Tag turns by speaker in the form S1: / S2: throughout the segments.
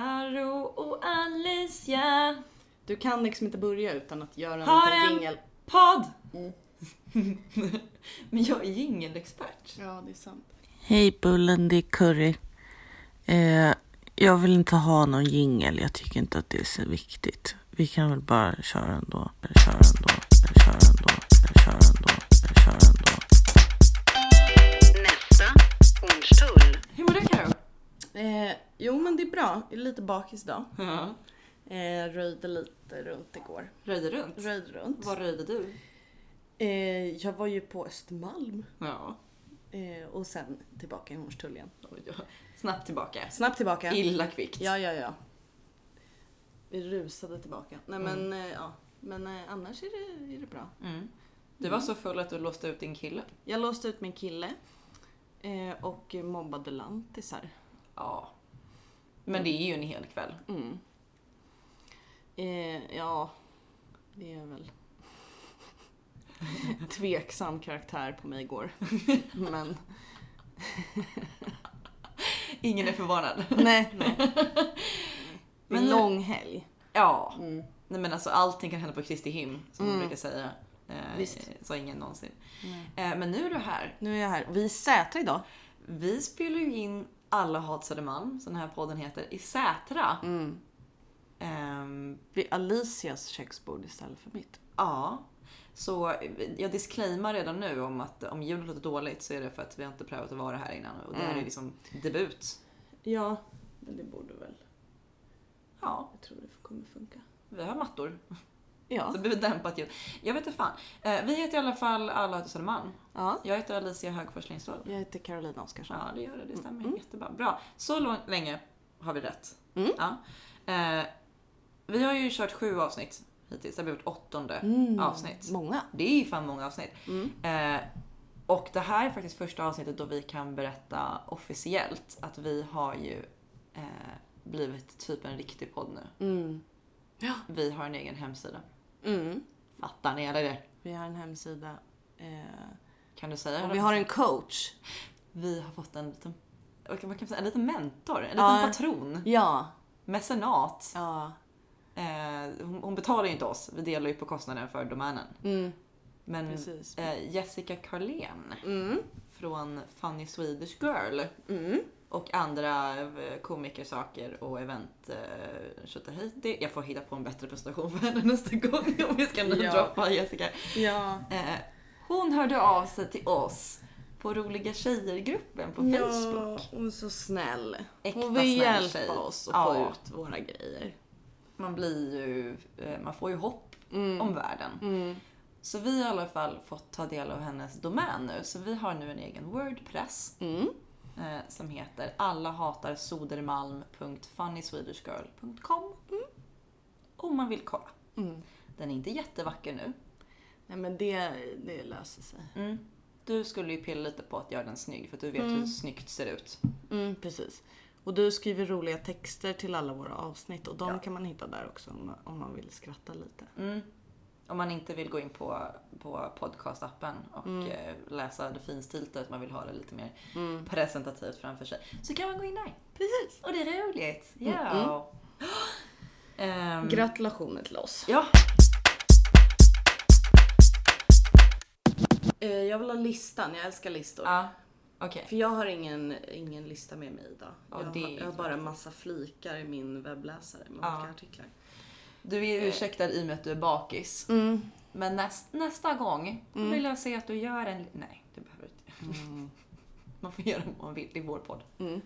S1: Karo och Alicia
S2: Du kan liksom inte börja utan att göra en
S1: Har
S2: liten
S1: en-
S2: jingel.
S1: podd!
S2: Mm.
S1: Men jag är jingelexpert.
S2: Ja, det är sant.
S3: Hej Bullen, det är Curry. Eh, jag vill inte ha någon jingel. Jag tycker inte att det är så viktigt. Vi kan väl bara köra ändå. Köra ändå. Köra ändå. Köra ändå. Köra ändå.
S4: Nästa Hornstull.
S1: Hur mår du Karo?
S2: Eh, jo, men det är bra. Jag är lite bakis idag.
S1: Ja.
S2: Eh, röjde lite runt igår.
S1: Röjde runt?
S2: Röjde runt.
S1: Vad röjde du?
S2: Eh, jag var ju på Östermalm
S1: Ja.
S2: eh, och sen tillbaka i Hornstull igen.
S1: oj, ja. Snabbt tillbaka.
S2: Snabbt tillbaka.
S1: Illa kvickt.
S2: Ja, ja, ja. Vi rusade tillbaka. Nej, men eh, ja. Men eh, annars är det, är det bra.
S1: Mm. Du var så full att du låste ut din kille.
S2: Jag låste ut min kille eh, och mobbade lantisar.
S1: Ja. Men det är ju en hel kväll.
S2: Mm. Eh, ja, det är väl tveksam karaktär på mig igår. Men
S1: Ingen är förvånad.
S2: nej, nej.
S1: Men
S2: Men
S1: nu-
S2: lång helg.
S1: Ja.
S2: Mm.
S1: Nej men alltså allting kan hända på Kristi himl som man
S2: Mm.
S1: brukar säga. Eh,
S2: Visst.
S1: Sa ingen någonsin. Eh, men nu är du här.
S2: Nu är jag här. Vi är i Sätra idag.
S1: Vi spelar ju in Alla hat Södermalm, som den här podden heter, i Sätra. Ehm,
S2: Vid Mm. Alicias köksbord istället för mitt.
S1: Ja. Så jag disclaimar redan nu om att om ljudet låter dåligt så är det för att vi har inte prövat att vara här innan och det här är
S2: Mm.
S1: liksom debut.
S2: Ja, men det borde väl.
S1: Ja,
S2: Jag tror det kommer funka.
S1: vi har mattor. Så
S2: Ja.
S1: det blir dämpat ljud. Jag vet inte fan. Eh, Vi heter i alla fall Alla heter Södermalm.
S2: ja.
S1: Jag heter Alicia Högfors Lindstål.
S2: Jag heter Carolina Oskarsson.
S1: Ja, det gör det. Det stämmer jättebra. Bra. Så lång- länge har vi rätt.
S2: Mm.
S1: Ja. Eh, Vi har ju kört sju avsnitt hittills. Det har blivit åttonde
S2: Mm.
S1: avsnitt.
S2: Många.
S1: Det är ju fan många avsnitt.
S2: Mm.
S1: Eh, och det här är faktiskt första avsnittet då vi kan berätta officiellt att vi har ju eh, blivit typ en riktig podd nu.
S2: Mm.
S1: Vi har en egen hemsida.
S2: Mm.
S1: Fattar ni eller? det?
S2: Vi har en hemsida. Eh,
S1: Kan du säga
S2: och
S1: det?
S2: vi har en coach.
S1: Vi har fått en liten, vad kan man säga, en liten mentor, en liten
S2: Ja.
S1: patron,
S2: Ja.
S1: mecenat.
S2: Ja.
S1: Eh, hon, hon betalar ju inte oss, vi delar ju på kostnaden för domänen.
S2: Mm.
S1: Men
S2: Precis.
S1: eh, Jessica Carlén
S2: Mm.
S1: från Funny Swedish Girl
S2: Mm.
S1: och andra eh, komikersaker och event eh, hit. Det, jag får hitta på en bättre presentation för henne nästa gång om vi ska nu
S2: Ja.
S1: droppa Jessica.
S2: Ja.
S1: Eh, hon hörde av sig till oss på roliga tjejer-gruppen på Facebook.
S2: hon är så snäll.
S1: Äkta
S2: hon vill
S1: snäll
S2: hjälpa
S1: tjej.
S2: oss att
S1: Ja.
S2: få ut våra grejer.
S1: Man blir ju, eh, man får ju hopp
S2: Mm.
S1: om världen. Så vi har i alla fall fått ta del av hennes domän nu. Så vi har nu en egen wordpress
S2: Mm.
S1: eh, som heter allahatarsodermalm.funnyswedishgirl.com Mm. Om man vill kolla.
S2: Mm.
S1: Den är inte jättevacker nu. Mm.
S2: Nej men det, det löser sig.
S1: Du skulle ju pilla lite på att göra den snygg för att du vet hur snyggt ser ut.
S2: Mm, precis. Och du skriver roliga texter till alla våra avsnitt och de kan man hitta där också om, om man vill skratta lite.
S1: Mm. Om man inte vill gå in på, på podcastappen och eh, läsa det finstilta utan man vill ha det lite mer presentativt framför sig. Så kan man gå in där.
S2: Precis.
S1: Och det är roligt. Ja. Ehm,
S2: Gratulationer till oss.
S1: ja.
S2: Eh, jag vill ha listan, jag älskar listor.
S1: ja. Okej.
S2: För jag har ingen, ingen lista med mig idag.
S1: Ja,
S2: jag,
S1: det
S2: har,
S1: är
S2: jag har bara massa flikar i min webbläsare med
S1: Ja.
S2: olika artiklar.
S1: Du är ursäktad i och med att du är bakis.
S2: Mm.
S1: Men näst, nästa gång vill jag se att du gör en... Nej, det behöver du inte. man får göra vad man vill. Det är vår podd.
S2: Mm.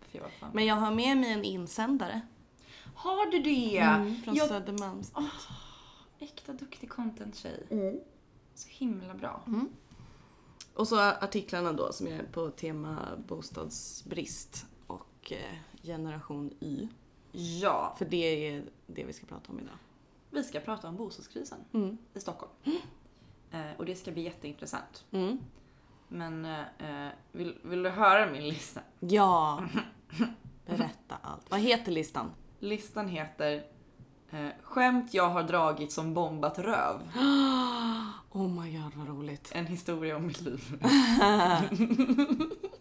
S1: Fy, vad fan.
S2: Men jag har med mig en insändare Mm.
S1: Har du det?
S2: från
S1: jag
S2: Södermalms
S1: Äkta duktig content-tjej. Så himla bra.
S2: Mm. Och så artiklarna då som är på tema bostadsbrist och eh, generation Y.
S1: Ja,
S2: För det är det vi ska prata om idag.
S1: vi ska prata om bostadskrisen
S2: Mm.
S1: i Stockholm. Eh, och det ska bli jätteintressant.
S2: Mm.
S1: Men eh, vill, vill du höra min lista?
S2: Ja! Berätta allt. Vad heter listan?
S1: Listan heter eh, Skämt jag har dragit som bombat röv.
S2: Oh my god vad roligt.
S1: En historia om mitt liv.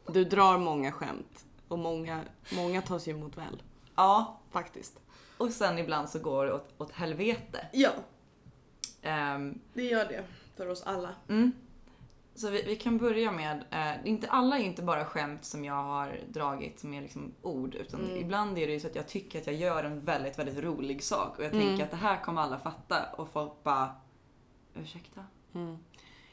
S2: Du drar många skämt och många, många tas ju emot väl.
S1: Ja,
S2: faktiskt.
S1: och sen ibland så går det åt, åt helvete.
S2: Ja,
S1: Ehm,
S2: det gör det. För oss alla.
S1: mm. Så vi, vi kan börja med, eh, inte alla är inte bara skämt som jag har dragit som är liksom ord utan
S2: Mm.
S1: ibland är det ju så att jag tycker att jag gör en väldigt, väldigt rolig sak och jag
S2: Mm.
S1: tänker att det här kommer alla fatta och folk bara ursäkta?
S2: Mm.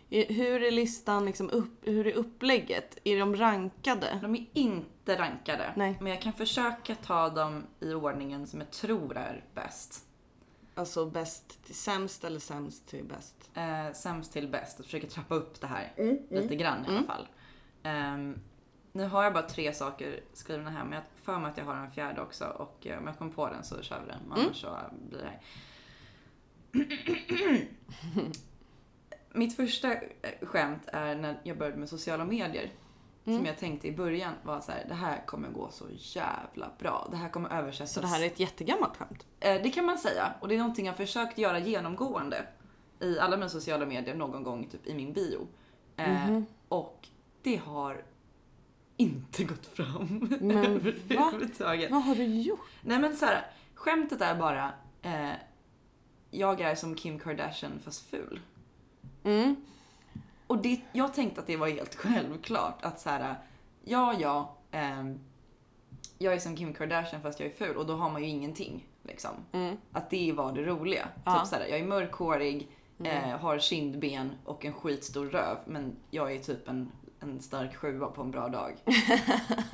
S2: Hur är listan liksom upp, hur är upplägget? Är de rankade?
S1: De är inte rankade.
S2: Nej.
S1: Men jag kan försöka ta dem i ordningen som jag tror är bäst.
S2: Alltså bäst till sämst eller sämst till bäst?
S1: Eh, sämst till bäst. Jag försöker trappa upp det här
S2: Mm,
S1: lite grann i alla fall. Ehm, nu har jag bara tre saker skrivna här men jag har för mig att jag har en fjärde också och eh, om jag kommer på den så kör vi
S2: Mm.
S1: den. Annars så blir det här. Mitt första eh, skämt är när jag började med sociala medier.
S2: Mm.
S1: Som jag tänkte i början var så här, det här kommer gå så jävla bra. Det här kommer översättas
S2: Så det här är ett jättegammalt skämt.
S1: Eh, Det kan man säga. Och det är någonting jag försökt göra genomgående i alla mina sociala medier någon gång typ i min bio. Eh,
S2: Mhm. Mm-hmm.
S1: Och det har inte gått fram
S2: Men va?
S1: överhuvudtaget.
S2: Vad har du gjort?
S1: Nej men så här, skämtet är bara eh, jag är som Kim Kardashian fast ful.
S2: Mm.
S1: Och det, jag tänkte att det var helt självklart att så här, ja ja, ehm, jag är som Kim Kardashian fast jag är ful och då har man ju ingenting. Liksom.
S2: Mm.
S1: Att det var det roliga.
S2: Ja. Mm.
S1: Typ så här, jag är mörkhårig, eh, har kindben och en skitstor röv men jag är typ en, en stark sjua på en bra dag.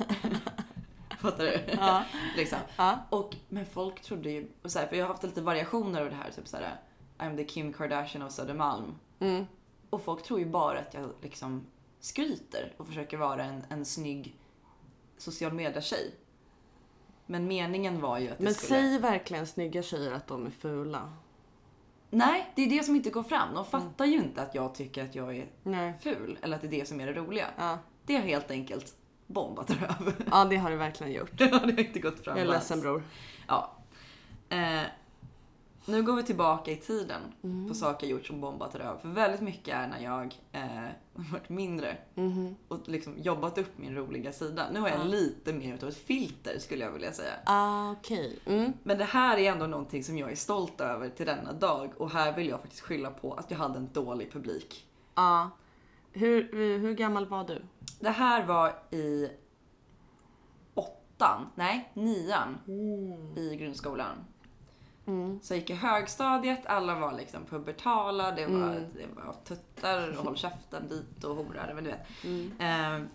S1: Fattar du?
S2: Ja.
S1: liksom.
S2: Ja.
S1: Och, men folk trodde ju, och så här, för jag har haft lite variationer av det här, typ så här, I'm the Kim Kardashian av Södermalm.
S2: Mm.
S1: Och folk tror ju bara att jag liksom skryter och försöker vara en, en snygg social media-tjej. Men meningen var ju att
S2: Men
S1: jag skulle...
S2: säg verkligen snygga tjejer att de är fula.
S1: Nej, det är det som inte går fram.
S2: Mm.
S1: De fattar ju inte att jag tycker att jag är
S2: Nej.
S1: ful eller att det är det som är det roliga.
S2: Ja,
S1: Det har helt enkelt bombat röv.
S2: ja det har du verkligen gjort.
S1: det har inte gått fram
S2: Jag är
S1: alls.
S2: ledsen bror.
S1: Ja. Eh, nu går vi tillbaka i tiden
S2: Mm.
S1: på saker jag gjort som bombat röv. För väldigt mycket är när jag eh, har varit mindre
S2: Mm-hmm.
S1: och liksom jobbat upp min roliga sida. Nu har jag lite mer utav ett filter skulle jag vilja säga.
S2: Ah, Okej. Mm.
S1: Men det här är ändå någonting som jag är stolt över till denna dag och här vill jag faktiskt skylla på att jag hade en dålig publik.
S2: Ja. Hur, hur gammal var du?
S1: Det här var i åttan, nej nian i grundskolan.
S2: Mm.
S1: Så jag gick i högstadiet, alla var liksom pubertala, det var,
S2: Mm.
S1: det var tuttar och håll käften dit och horor, men du vet.
S2: Mm.
S1: Ehm,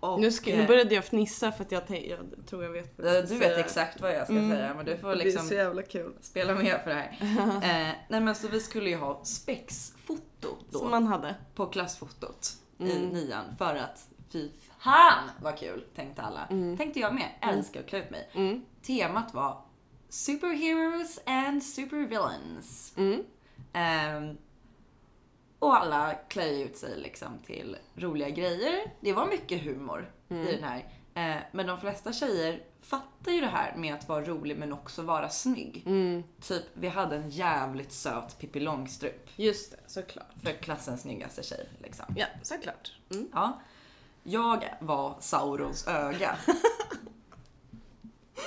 S1: och,
S2: Nu, ska, nu började jag fnissa för att jag, tänk, jag tror jag vet vad
S1: eh,
S2: jag ska
S1: Du vet
S2: säga.
S1: exakt vad jag ska
S2: Mm.
S1: säga men du får liksom
S2: jävla kul.
S1: spela med för det här. eh, nej men så vi skulle ju ha spexfoto då
S2: Som man Mm. hade.
S1: på klassfotot i nian för att fy fan vad kul tänkte alla.
S2: Mm.
S1: Tänkte jag med. Älskar att klä ut mig. Temat var Superheroes and Supervillains.
S2: Mm.
S1: Ehm, och alla klär ut sig liksom till roliga grejer. Det var mycket humor
S2: Mm.
S1: i den här. Eh, men de flesta tjejer fattar ju det här med att vara rolig men också vara snygg.
S2: Mm.
S1: Typ, vi hade en jävligt söt Pippi Långstrump
S2: Just det, såklart.
S1: för klassens snyggaste tjej. Liksom.
S2: Ja, såklart. Mm.
S1: Ja. Jag var Saurons öga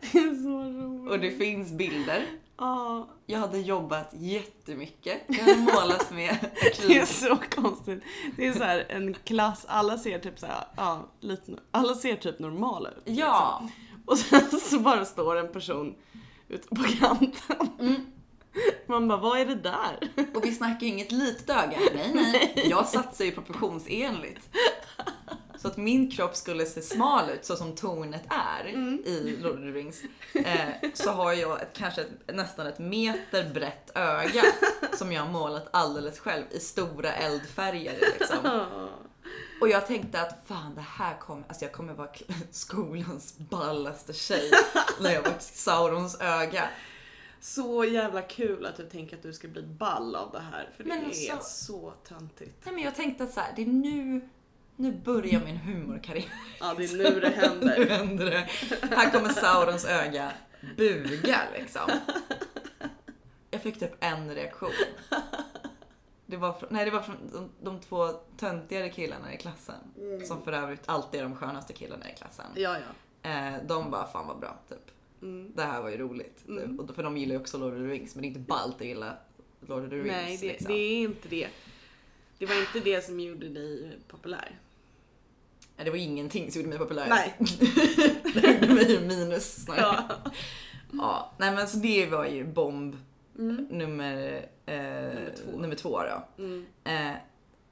S2: Det är så roligt.
S1: och det finns bilder.
S2: Ja,
S1: Jag hade jobbat jättemycket. Jag hade målat med
S2: det
S1: akryl.
S2: är så konstigt. Det är så här en klass, alla ser typ så här, ja, lite, alla ser typ normala ut. Liksom.
S1: Ja,
S2: Och sen så bara står en person ute på kanten. Man bara, vad är det där?
S1: och vi snackar ju inget litet öga. Nej, nej. Jag satsar ju proportionsenligt. Så att min kropp skulle se smal ut så som tornet är i Lord of the Rings. Eh, så har jag ett, kanske ett, nästan ett meter brett öga som jag har målat alldeles själv i stora eldfärger. Liksom. Och jag tänkte att fan det här kommer, alltså jag kommer vara k- skolans ballaste tjej när jag var Saurons öga.
S2: Så jävla kul att du tänker att du ska bli ball av det här. För det
S1: Men
S2: är
S1: alltså-
S2: så töntigt.
S1: Nej men jag tänkte att så här, det är nu, nu börjar min humorkarriär.
S2: Ja, det är nu det
S1: Nu
S2: händer.
S1: händer det. Här kommer Saurons öga buga liksom. Jag fick typ en reaktion. Det var från, nej det var från de, de två töntigare killarna i klassen. Som för övrigt alltid är de skönaste killarna i klassen.
S2: Ja, Mm. ja.
S1: Eh, de bara, fan vad bra, typ. Det här var ju roligt.
S2: Mm.
S1: Typ. Och, för de gillar ju också Lord of the Rings, men det är inte ballt att gilla Lord of the Rings.
S2: Nej, det,
S1: liksom.
S2: det är inte det. Det var inte det som gjorde dig populär.
S1: Nej, det var ingenting som gjorde mig populär.
S2: Nej.
S1: det gjorde mig ju minus snarare. Ja.
S2: Ja.
S1: nej men så det var ju bomb
S2: Mm.
S1: nummer, eh, nummer
S2: två.
S1: två. då.
S2: Mm.
S1: Eh,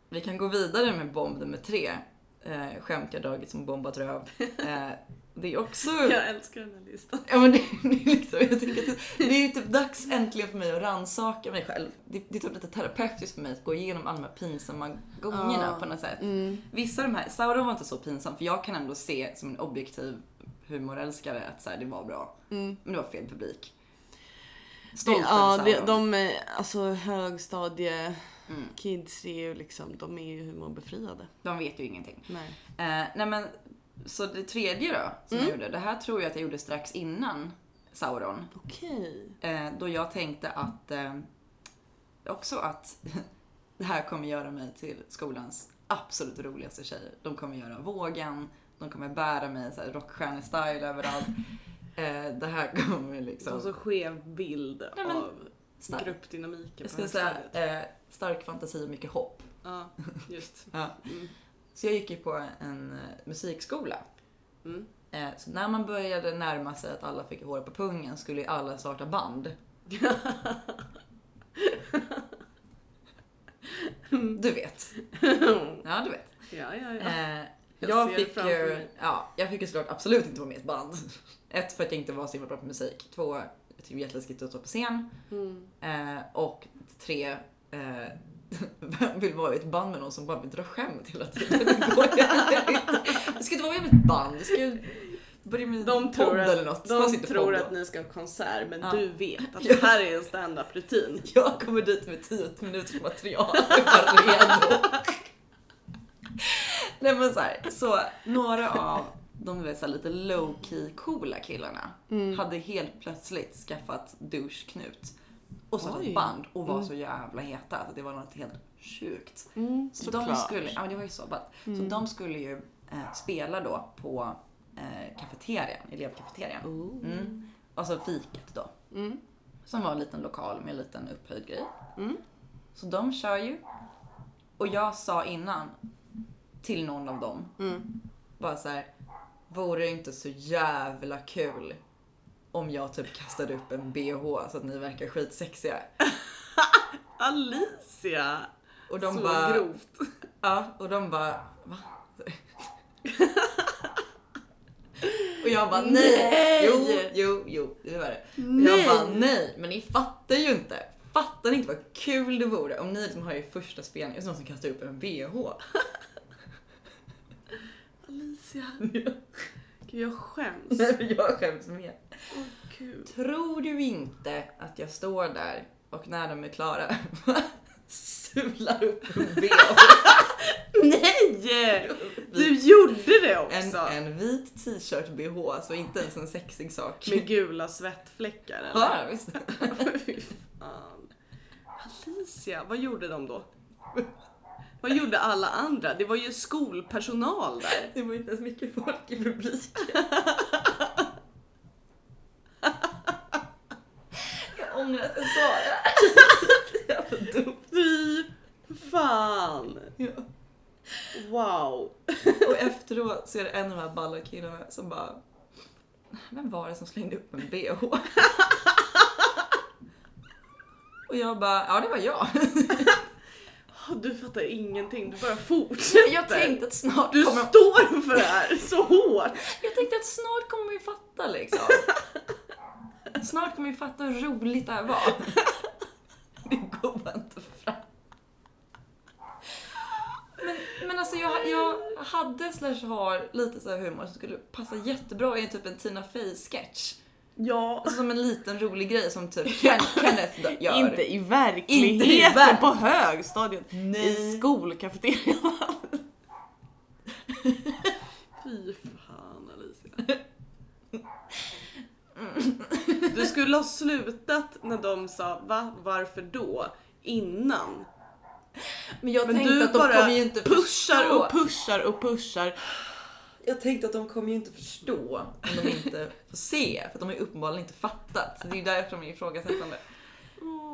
S1: vi kan gå vidare med bomb nummer tre. Eh, Skämtkardaget som bombat röv. Eh, det är också...
S2: Jag älskar den här listan.
S1: Ja, men det, det, är liksom, jag tänker att det är ju typ dags äntligen för mig att rannsaka mig själv. Det, det är typ lite terapeutiskt för mig att gå igenom alla de här pinsamma gångerna på något sätt.
S2: Mm.
S1: Vissa av de här, Sauron var inte så pinsam för jag kan ändå se som en objektiv humorälskare att så här, det var bra.
S2: Mm.
S1: Men det var fel publik. Stolt över
S2: Ja, det,
S1: Sauron. Mm,
S2: de, eh, alltså högstadie kids är ju liksom, de är ju humorbefriade.
S1: de vet ju ingenting.
S2: Nej.
S1: Eh, nej men, så det tredje då som jag
S2: Mm.
S1: gjorde, det här tror jag att jag gjorde strax innan Sauron.
S2: Okej.
S1: Eh, då jag tänkte att eh, också att det här kommer göra mig till skolans absolut roligaste tjej. De kommer göra vågen, de kommer bära mig så här rockstjärne-style överallt. Eh, det här kommer
S2: Så en
S1: liksom...
S2: så skev bild
S1: Nej, men-
S2: av
S1: Stark,
S2: gruppdynamiken på
S1: jag skulle säga
S2: högstadiet.
S1: eh, stark fantasi och mycket hopp.
S2: Ja, just. Mm.
S1: Så jag gick ju på en eh, musikskola.
S2: Mm.
S1: Eh, så när man började närma sig att alla fick hår på pungen skulle ju alla starta band.
S2: Mm.
S1: Du vet. Ja, du vet.
S2: Ja, ja, ja.
S1: Eh,
S2: Jag
S1: jag,
S2: ser det
S1: fick
S2: framför
S1: ju,
S2: mig.
S1: ja, jag fick ju såklart absolut inte vara med i ett band. Ett, för att jag inte var så himla bra på musik. Två, jag tyckte det var jätteläskigt att stå på scen.
S2: Mm.
S1: Eh, och tre, eh, vem vill vara i ett band med någon som bara vill dra skämt hela tiden? Det går ju inte. Du ska inte vara med i ett band, du ska ju börja med
S2: De
S1: podd
S2: tror,
S1: eller
S2: att,
S1: något.
S2: de
S1: Fanns inte
S2: tror
S1: podd då.
S2: att ni ska ha konsert men
S1: Ja.
S2: du vet att
S1: Ja.
S2: det här är en standup-rutin.
S1: Jag kommer dit med 10 minuters material och är redo. Nej men så, här, så några av de vet, så här, lite low key coola killarna
S2: Mm.
S1: hade helt plötsligt skaffat douche-knut och satt
S2: Oj. Mm.
S1: ett band och var så jävla heta. Alltså, det var något helt sjukt.
S2: Mm,
S1: Så de
S2: Såklart. Mm.
S1: skulle, ja men det var ju så bara, Så de skulle ju eh, spela då på eh, kafeterian, elevkafeterian. Mm. Alltså fiket då. Som var en liten lokal med en liten upphöjd grej. Så de kör ju. Och jag sa innan till någon av dem. Bara så här. Vore det inte så jävla kul om jag typ kastade upp en bh så att ni verkar skitsexiga?
S2: Alicia!
S1: Och de
S2: så
S1: bara,
S2: grovt.
S1: Ja, och de bara, va? och jag bara, nej! Jo, jo, jo, det var det. Och jag bara, nej, men ni fattar ju inte. Fattar ni inte vad kul det vore om ni liksom har er första spelning och så någon som kastar upp en bh?
S2: Alicia. Gud jag skäms.
S1: Nej, men jag skäms mer.
S2: Åh gud.
S1: Tror du inte att jag står där och när de är klara sular upp en bh?
S2: Nej! Du gjorde det
S1: En,
S2: också!
S1: en vit t-shirt bh, så inte ens en sexig sak.
S2: Med gula svettfläckar eller?
S1: Ja, visst.
S2: Fy fan. Alicia, vad gjorde de då? Vad gjorde alla andra? Det var ju skolpersonal där.
S1: Det var inte ens mycket folk i publiken. jag ångrar att jag sa det. Jävla dumt.
S2: Fy fan!
S1: Ja.
S2: Wow!
S1: Och efteråt så är det en av de här balla killarna som bara Vem var det som slängde upp en bh? Och jag bara, ja det var jag.
S2: Du fattar ingenting, du bara fortsätter.
S1: Jag tänkte att snart
S2: du
S1: kommer
S2: står för det här så hårt!
S1: Jag tänkte att snart kommer vi fatta liksom. Snart kommer vi fatta hur roligt det här var. Det går bara inte fram. Men, men alltså jag, jag hade slash har lite så här humor som skulle passa jättebra i typ en Tina Fey-sketch.
S2: Ja,
S1: Alltså som en liten rolig grej som typ Ken, Kenneth gör.
S2: inte i verkligheten,
S1: Inte i verk-
S2: på högstadiet. I
S1: Nej.
S2: skolkafeterian. Fy fan Alicia. Du skulle ha slutat när de sa va, varför då? Innan.
S1: Men jag
S2: Men
S1: tänkte
S2: du
S1: att de
S2: bara
S1: kommer ju inte
S2: pushar
S1: förstå.
S2: och pushar och pushar.
S1: jag tänkte att de kommer ju inte förstå om de inte får se. För att de har ju uppenbarligen inte fattat. Så det är ju därför de är ifrågasättande.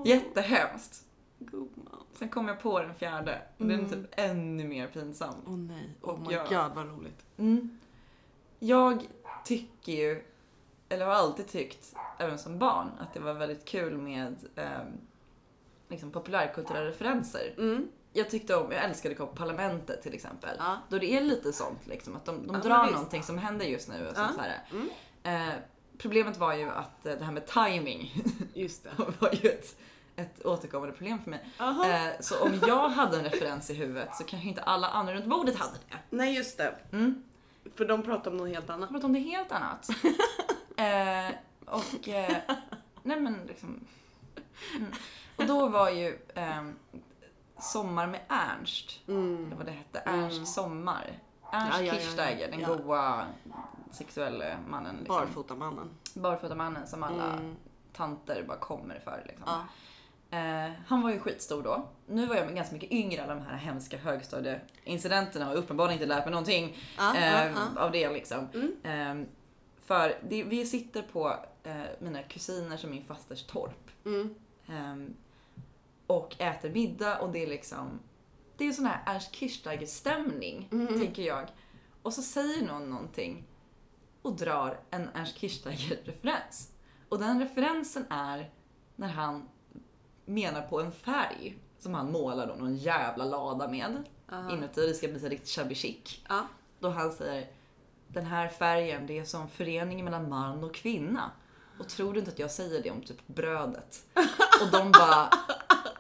S1: Jättehemskt.
S2: Gumman.
S1: Sen kom jag på den fjärde. och Den är typ ännu mer pinsam.
S2: Åh nej,
S1: Och
S2: oh my
S1: jag-
S2: god vad roligt.
S1: Mm. Jag tycker ju, eller har alltid tyckt, även som barn, att det var väldigt kul med ehm, liksom populärkulturella referenser.
S2: Mm.
S1: Jag tyckte om, jag älskade att kolla på Parlamentet till exempel.
S2: Ja.
S1: Då det är lite sånt liksom, att de, de
S2: Ja, men
S1: drar
S2: visst.
S1: någonting som händer just nu. Och
S2: Ja. Mm.
S1: sånt så här. Eh, problemet var ju att eh, det här med timing
S2: Just det.
S1: var ju ett, ett återkommande problem för mig.
S2: Aha.
S1: Eh, så om jag hade en referens i huvudet så kanske inte alla andra runt bordet hade det.
S2: Nej just det.
S1: Mm.
S2: För de pratar om något helt annat.
S1: Jag pratar om det helt annat. eh, och... Eh, nej men liksom... Mm. Och då var ju ehm, Sommar med Ernst, det var det hette, Ernst Sommar. Ernst
S2: Mm. Ja, ja, ja, ja.
S1: Kirchsteiger, den
S2: Ja.
S1: goa sexuelle mannen. Liksom.
S2: Barfotamannen.
S1: Barfota mannen som alla
S2: Mm.
S1: tanter bara kommer för. Liksom.
S2: Ja.
S1: Eh, han var ju skitstor då. Nu var jag ganska mycket yngre, alla de här hemska högstadieincidenterna och uppenbarligen inte lärt mig någonting
S2: Ja,
S1: eh,
S2: ja, Mm.
S1: av det liksom. Eh, för det, vi sitter på eh, mina kusiners och min fasters torp
S2: Mm.
S1: eh, och äter middag och det är liksom det är sån här Ernst Kirchsteiger stämning,
S2: Mm.
S1: tänker jag. Och så säger någon någonting och drar en Ernst Kirchsteiger-referens. Och den referensen är när han menar på en färg som han målar då någon jävla lada med inuti. Det ska bli så riktigt shabby chic.
S2: Ja.
S1: Då han säger den här färgen, det är som föreningen mellan man och kvinna. Och tror du inte att jag säger det om typ brödet? Och de bara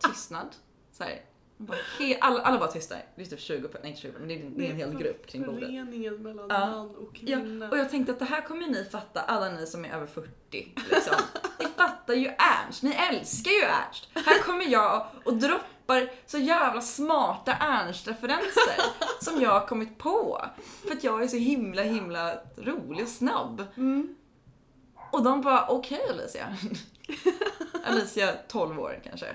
S1: tystnad. Så här. De bara, he- alla, alla bara tystnar. Det är typ 20, nej inte 20, men det är, det är en hel grupp kring bordet.
S2: Föreningen mellan
S1: Ja.
S2: man och
S1: Ja,
S2: kvinna.
S1: och jag tänkte att det här kommer ju ni fatta, alla ni som är över 40. Liksom. Ni fattar ju Ernst, ni älskar ju Ernst. Här kommer jag och droppar så jävla smarta Ernst-referenser som jag har kommit på. För att jag är så himla himla rolig och snabb. Och de bara, okej Alicia. Alicia, 12 år kanske.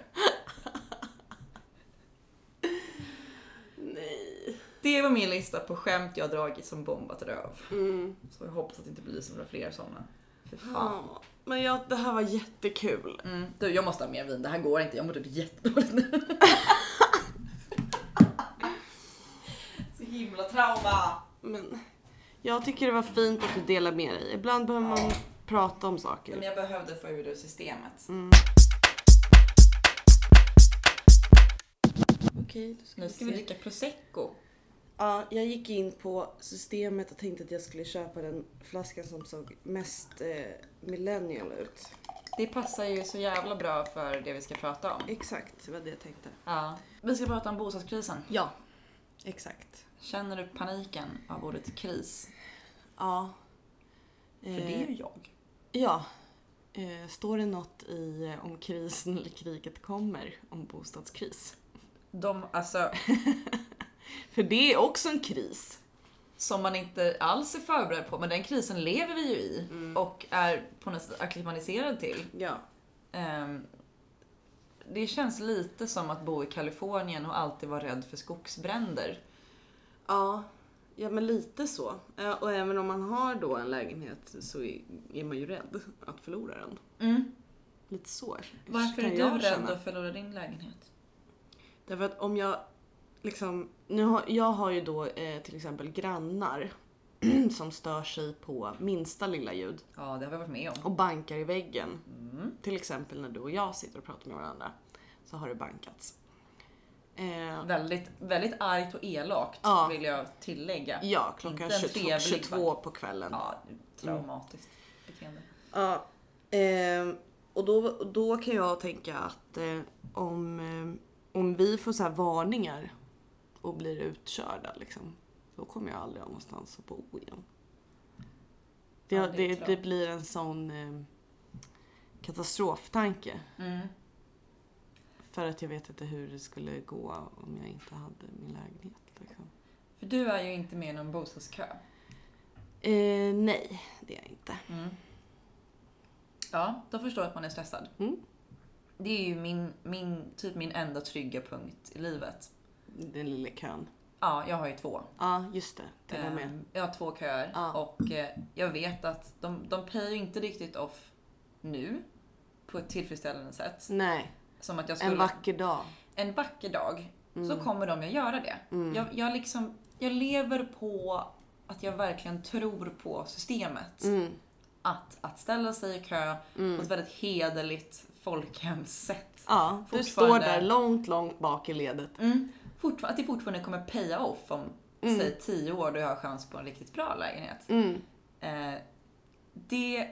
S2: Nej.
S1: Det var min lista på skämt jag dragit som bombat röv.
S2: Mm.
S1: Så jag hoppas att det inte blir så några fler sådana. Fy fan.
S2: Ja. Men jag, det här var jättekul.
S1: Mm. Du, jag måste ha mer vin. Det här går inte. Jag mår typ jättedåligt nu. Så himla trauma.
S2: Men jag tycker det var fint att du delar med dig. Ibland behöver man prata om
S1: Men
S2: saker.
S1: jag behövde få ur det ur systemet.
S2: Okej, då
S1: Nu ska vi dricka prosecco.
S2: Ja, jag gick in på systemet och tänkte att jag skulle köpa den flaskan som såg mest eh, millennial ut.
S1: Det passar ju så jävla bra för det vi ska prata om.
S2: Exakt, det var det jag tänkte.
S1: Ja. Vi ska prata om bostadskrisen.
S2: Ja, exakt.
S1: Känner du paniken av ordet kris?
S2: Ja.
S1: För det är ju jag.
S2: Ja. Eh, står det något i eh, om krisen eller kriget kommer om bostadskris?
S1: De, alltså,
S2: För det är också en kris.
S1: som man inte alls är förberedd på, men den krisen lever vi ju i och är på något sätt akklimatiserad till.
S2: Mm. Ja.
S1: Ehm, det känns lite som att bo i Kalifornien och alltid vara rädd för skogsbränder.
S2: Ja, ja men lite så. Eh, Och även om man har då en lägenhet så är- är man ju rädd att förlora den. Lite så.
S1: Mm. Varför
S2: kan
S1: är
S2: jag
S1: du rädd
S2: känna.
S1: att förlora din lägenhet?
S2: Därför att om jag liksom, nu har, jag har ju då eh, till exempel grannar som stör sig på minsta lilla ljud
S1: Ja, det har vi varit med om. Mm.
S2: och bankar i väggen. Till exempel när du och jag sitter och pratar med varandra så har det bankats. Eh,
S1: Väldigt, väldigt argt och elakt
S2: Ja.
S1: vill jag tillägga.
S2: ja, klockan
S1: Inte en
S2: 22,
S1: trevlig
S2: 22 på kvällen.
S1: Ja, traumatiskt beteende.
S2: Ja. ehm, och då, då kan jag tänka att eh, om, eh, om vi får så här varningar och blir utkörda liksom, då kommer jag aldrig ha någonstans att bo igen. Det,
S1: Ja, det
S2: det,
S1: är
S2: det,
S1: klart.
S2: blir en sån eh, katastroftanke.
S1: Mm.
S2: För att jag vet inte hur det skulle gå om jag inte hade min lägenhet. Liksom.
S1: För du är ju inte med i någon bostadskö.
S2: Eh, nej, det är jag inte.
S1: Mm. Ja, då förstår jag att man är stressad.
S2: Mm.
S1: Det är ju min, min, typ min enda trygga punkt i livet.
S2: Den lilla kön.
S1: Ja, jag har ju två.
S2: Ja, just det. Det var
S1: Eh,
S2: med.
S1: Jag har två köer
S2: Ja.
S1: och eh, jag vet att de, de payar inte riktigt off nu på ett tillfredsställande sätt.
S2: Nej,
S1: Som att jag skulle,
S2: en vacker dag. Mm,
S1: en vacker dag så kommer de att göra det. Jag, jag, liksom, jag lever på att jag verkligen tror på systemet.
S2: Mm.
S1: Att, att ställa sig i kö på ett väldigt hederligt folkhemssätt.
S2: Ja, du står
S1: Fortfarande.
S2: där långt, långt bak i ledet.
S1: Mm. Fortfar- att det fortfarande kommer paya off om säg 10 år då jag har chans på en riktigt bra lägenhet.
S2: Mm.
S1: Eh, det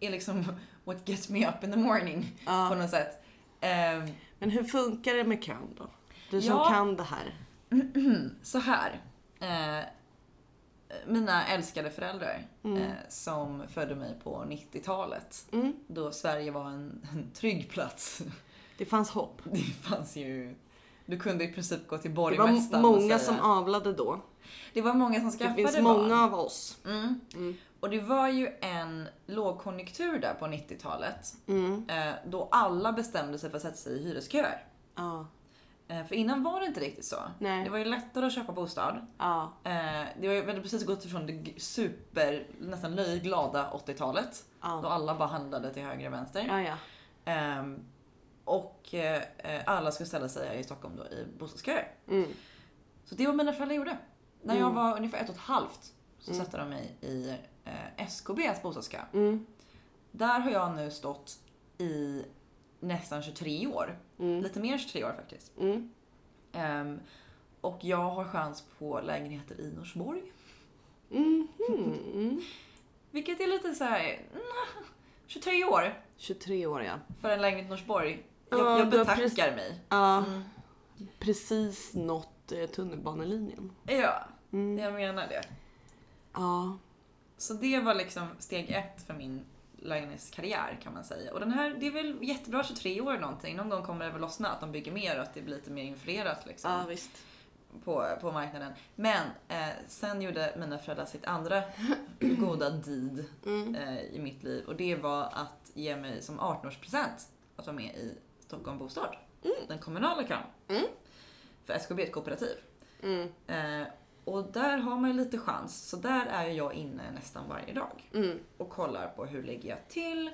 S1: är liksom what gets me up in the morning på något sätt. Eh,
S2: Men hur funkar det med kön då? Du som
S1: Ja.
S2: kan det här.
S1: så här. Eh, mina älskade föräldrar
S2: Mm,
S1: eh, som födde mig på 90-talet. Då Sverige var en, en trygg plats.
S2: mm. Det fanns hopp.
S1: Det fanns ju... Du kunde i princip gå till
S2: Det var
S1: borgmästaren
S2: m-
S1: och
S2: många som
S1: säga-
S2: avlade då.
S1: Det var många som
S2: Det
S1: skaffade
S2: finns
S1: barn.
S2: många av oss.
S1: Mm. Och det var ju en lågkonjunktur där på 90-talet.
S2: Mm.
S1: Eh, då alla bestämde sig för att sätta sig i hyresköer.
S2: Ja,
S1: Eh, för innan var det inte riktigt så.
S2: Nej.
S1: Det var ju lättare att köpa bostad.
S2: ja,
S1: Eh, det var ju väldigt precis gått ifrån det g- super, nästan löjglada 80-talet. Då
S2: ja,
S1: alla bara handlade till höger och vänster.
S2: ja, ja.
S1: Ehm, och eh, eh, alla skulle ställa sig här i Stockholm då i bostadsköer.
S2: Mm.
S1: Så det var mina föräldrar gjorde. När jag var ungefär ett och ett halvt så satte de mig i eh, SKBs bostadskö.
S2: Mm.
S1: Där har jag nu stått i nästan 23 år. Lite mer än 23 år faktiskt.
S2: Mm.
S1: Ehm, och jag har chans på lägenheter i Norsborg.
S2: mm,
S1: Vilket är lite så här. mm, 23 år
S2: 23 år ja.
S1: för en lägenhet i Norsborg. Jag,
S2: Ja,
S1: jag
S2: du har
S1: betackar
S2: precis-
S1: mig.
S2: Ja. Precis nått eh, tunnelbanelinjen.
S1: Ja,
S2: Mm.
S1: jag menar det.
S2: Ja.
S1: Så det var liksom steg ett för min lägenhetskarriär kan man säga. Och den här, det är väl jättebra 23 år någonting. Någon gång kommer det väl lossna att de bygger mer och att det blir lite mer influerat liksom
S2: Ja visst.
S1: på, på marknaden. Men eh, sen gjorde mina föräldrar sitt andra goda deed
S2: Mm,
S1: eh, i mitt liv och det var att ge mig som 18-årspresent att vara med i Stockholm Bostad, den kommunala kön. För SKB är ett kooperativ.
S2: mm,
S1: Eh, och där har man ju lite chans, så där är ju jag inne nästan varje dag
S2: mm,
S1: och kollar på hur lägger jag till,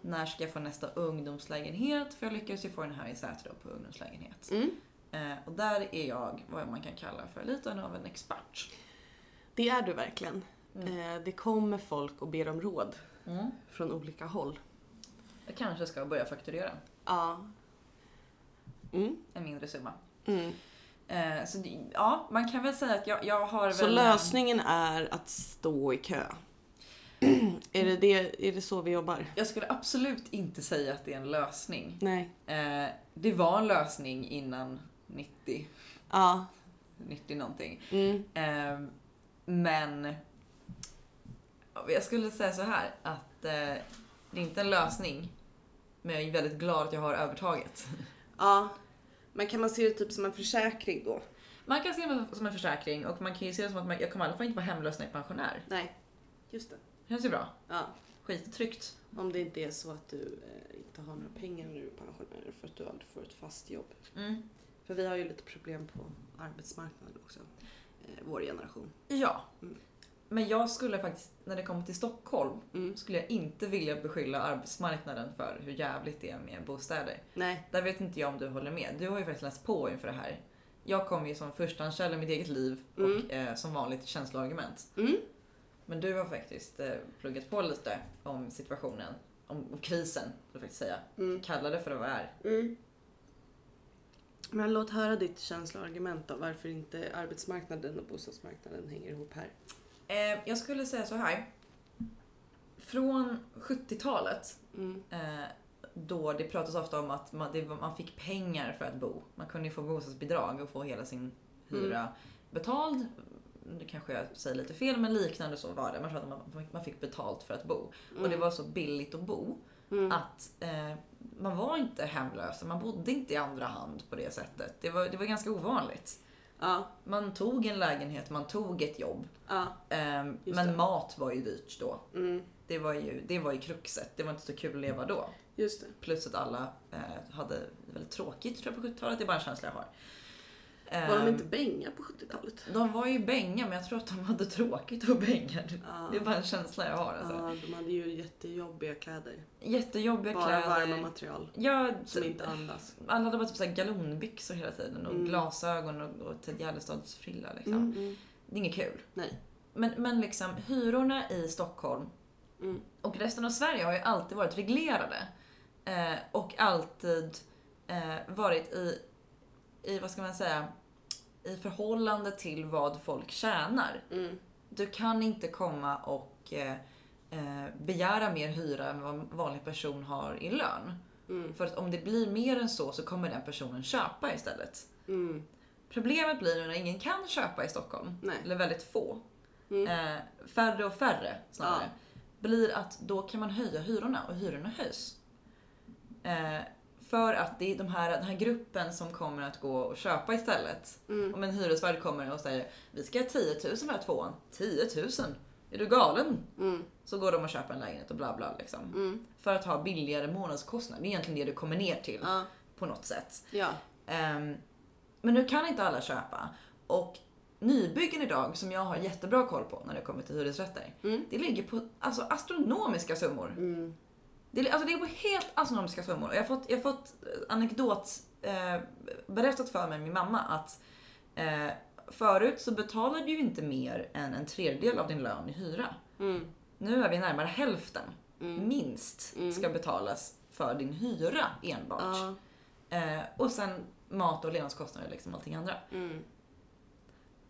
S1: när ska jag få nästa ungdomslägenhet? För jag lyckades ju få den här i Sätra på ungdomslägenhet.
S2: mm.
S1: Eh, och där är jag vad man kan kalla för lite av en expert.
S2: Det är du verkligen. Eh, Det kommer folk och ber om råd från olika håll.
S1: Mm. Jag kanske ska börja fakturera
S2: Ja. Mm.
S1: en mindre summa.
S2: Mm.
S1: Eh, så det- ja, man kan väl säga att jag, jag har
S2: Så
S1: väl...
S2: lösningen är att stå i kö. är, det det, är det så vi jobbar?
S1: Jag skulle absolut inte säga att det är en lösning.
S2: Nej.
S1: Eh, det var en lösning innan 90,
S2: Ja.
S1: 90 någonting.
S2: Mm.
S1: Eh, men jag skulle säga så här att eh, det är inte en lösning. Men jag är väldigt glad att jag har övertaget.
S2: ja. Men kan man se det typ som en försäkring då?
S1: Man kan se det som en försäkring och man kan ju se det som att man, jag kommer i alla fall inte vara hemlös när jag är pensionär.
S2: Nej. Just det.
S1: Det känns ju bra.
S2: Ja.
S1: Skittryggt.
S2: Om det inte är så att du eh, inte har några pengar när du är pensionär för att du aldrig får ett fast jobb.
S1: Mm.
S2: För vi har ju lite problem på arbetsmarknaden också. Eh, vår generation.
S1: Ja.
S2: Mm.
S1: Men jag skulle faktiskt, när det kommer till Stockholm,
S2: Mm.
S1: skulle jag inte vilja beskylla arbetsmarknaden för hur jävligt det är med bostäder.
S2: Nej.
S1: Där vet inte jag om du håller med. Du har ju faktiskt läst på inför det här. Jag kom ju som förstahandskälla i mitt eget liv och eh, som vanligt känsloargument.
S2: Mm.
S1: Men du har faktiskt eh, pluggat på lite om situationen, om, om krisen, får jag faktiskt säga.
S2: Mm.
S1: Kalla det för vad det är.
S2: Men låt höra ditt känsloargument då. Varför inte arbetsmarknaden och bostadsmarknaden hänger ihop här.
S1: Eh, jag skulle säga så här. Från 70-talet,
S2: Mm.
S1: eh, då det pratas ofta om att man, det, var- man fick pengar för att bo. Man kunde ju få bostadsbidrag och få hela sin hyra
S2: Mm.
S1: betald. Nu kanske jag säger lite fel, men liknande så var det. Man pratade om att man fick- man fick betalt för att bo.
S2: Mm.
S1: Och det var så billigt att bo att eh, man var inte hemlös. Man bodde inte i andra hand på det sättet. Det var, det var ganska ovanligt.
S2: Ja.
S1: Man tog en lägenhet, man tog ett jobb.
S2: Ja.
S1: Ehm,
S2: Just
S1: men
S2: det.
S1: mat var ju dyrt då.
S2: Mm.
S1: Det var ju, det var ju kruxet. Det var inte så kul att leva då.
S2: Just det.
S1: Plus att alla eh, hade väldigt tråkigt tror jag på 70-talet. Det är bara en känsla jag har.
S2: Var de inte bänga på 70-talet?
S1: De var ju bänga men jag tror att de hade tråkigt och bängar. Det är bara en känsla jag har alltså.
S2: Ja, de hade ju jättejobbiga kläder.
S1: Jättejobbiga
S2: Bara
S1: kläder.
S2: varma material
S1: Ja,
S2: som
S1: t-
S2: inte Mm. andas.
S1: alla hade bara typ såhär galonbyxor hela tiden och glasögon och, och Ted Gärdestads frilla liksom. Det är inget kul.
S2: Mm. Nej.
S1: Men, men liksom hyrorna i Stockholm
S2: mm,
S1: och resten av Sverige har ju alltid varit reglerade. Eh, och alltid eh, varit i, i, vad ska man säga, i förhållande till vad folk tjänar.
S2: mm,
S1: Du kan inte komma och eh, eh, begära mer hyra än vad en vanlig person har i lön.
S2: mm,
S1: För att om det blir mer än så så kommer den personen köpa istället.
S2: mm,
S1: Problemet blir nu när ingen kan köpa i Stockholm,
S2: Nej. Mm,
S1: eller väldigt få. Eh, färre och färre snarare. Blir att då kan man höja hyrorna och hyrorna höjs. Eh, för att det är de här, den här gruppen som kommer att gå och köpa istället.
S2: Mm.
S1: Om en hyresvärd kommer och säger vi ska ha 10 000 för den här tvåan. 10 000? Är du galen?
S2: mm,
S1: Så går de och köper en lägenhet och bla bla liksom. För att ha billigare månadskostnad. Det är egentligen det du kommer ner till
S2: Ja.
S1: på något sätt.
S2: Ja.
S1: Ehm, men nu kan inte alla köpa. Och nybyggen idag, som jag har jättebra koll på när det kommer till hyresrätter,
S2: Mm,
S1: det ligger på alltså, astronomiska summor. Det, li- alltså, det är på helt astronomiska summor. Och jag har fått, jag har fått eh, anekdot eh, berättat för mig av min mamma att eh, förut så betalade du ju inte mer än en tredjedel av din lön i hyra.
S2: mm,
S1: Nu är vi närmare hälften, minst, ska betalas för din hyra enbart. Eh, och sen mat och levnadskostnader och liksom allting andra.
S2: Mm,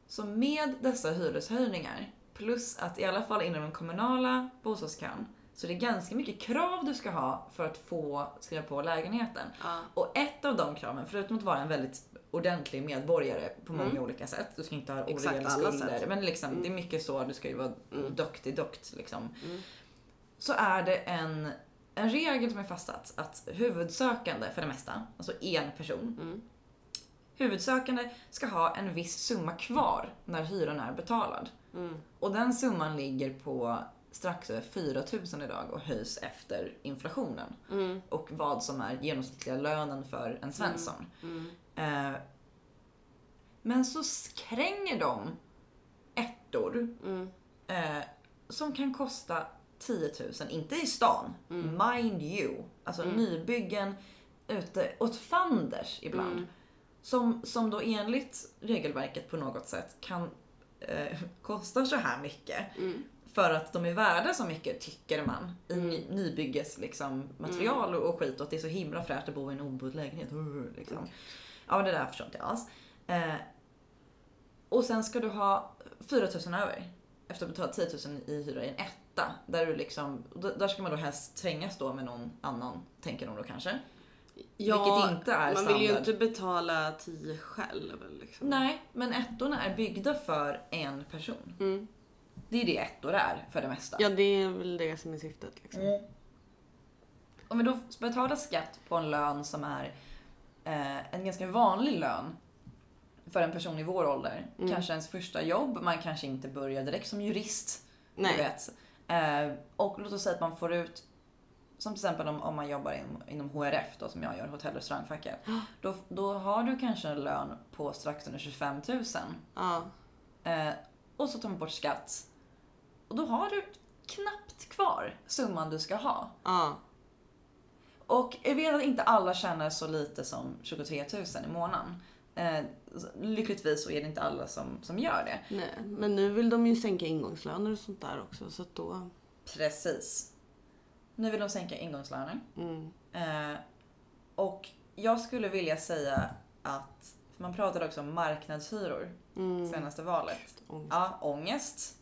S1: Så med dessa hyreshöjningar, plus att i alla fall inom den kommunala bostadskön, så det är ganska mycket krav du ska ha för att få skriva på lägenheten. Och ett av de kraven, förutom att vara en väldigt ordentlig medborgare på många olika sätt, du ska inte ha oreglerade
S2: Mm. alla
S1: skulder,
S2: sätt. Mm.
S1: men liksom, det är mycket så, du ska ju vara duktig dukt liksom. Så är det en, en regel som är fastsatt att huvudsökande för det mesta, alltså en person,
S2: mm,
S1: Huvudsökande ska ha en viss summa kvar när hyran är betalad.
S2: mm,
S1: Och den summan ligger på strax över 4 000 idag och höjs efter inflationen.
S2: mm,
S1: Och vad som är genomsnittliga lönen för en Svensson.
S2: mm,
S1: Eh, men så skränger de ettor
S2: mm,
S1: eh, som kan kosta 10 000, inte i stan,
S2: mm.
S1: mind you. Alltså nybyggen ute åt fanders ibland
S2: Mm.
S1: som, som då enligt regelverket på något sätt kan eh, kosta så här mycket.
S2: mm.
S1: För att de är värda så mycket, tycker man, i ny,
S2: Mm.
S1: nybygges liksom, material och, och skit och att det är så himla fräscht att bo i en obodd lägenhet. Uh, Liksom. Ja, men det där förstår inte jag alls. Eh, och sen ska du ha 4 000 över efter att ha betalat 10 000 i hyra i en etta. Där, du liksom, d- där ska man då helst trängas då med någon annan, tänker de då kanske. Vilket inte är
S2: man vill ju
S1: standard.
S2: inte betala 10 själv. Liksom.
S1: Nej, men ettorna är byggda för en person. Det är det ettor är för det mesta.
S2: Mm. Ja, det är väl det som är syftet. Liksom.
S1: Mm. Om vi då betalar skatt på en lön som är eh, en ganska vanlig lön för en person i vår ålder. Kanske ens första jobb, man kanske inte börjar direkt som jurist.
S2: Nej.
S1: Du vet. Eh, och låt oss säga att man får ut som till exempel om, om man jobbar inom, inom HRF då, som jag gör, hotell och restaurangfacket. Då, då har du kanske en lön på strax under 25 000.
S2: Ja.
S1: Eh, och så tar man bort skatt. Och då har du knappt kvar summan du ska ha.
S2: Ja.
S1: Och jag vet att inte alla tjänar så lite som 23 000 i månaden. Eh, lyckligtvis så är det inte alla som, som gör det.
S2: Nej. Men nu vill de ju sänka ingångslöner och sånt där också. Så att då...
S1: Precis. Nu vill de sänka ingångslöner.
S2: Mm,
S1: Eh, och jag skulle vilja säga att, för man pratade också om marknadshyror
S2: mm.
S1: senaste valet.
S2: ångest.
S1: Ja, ångest.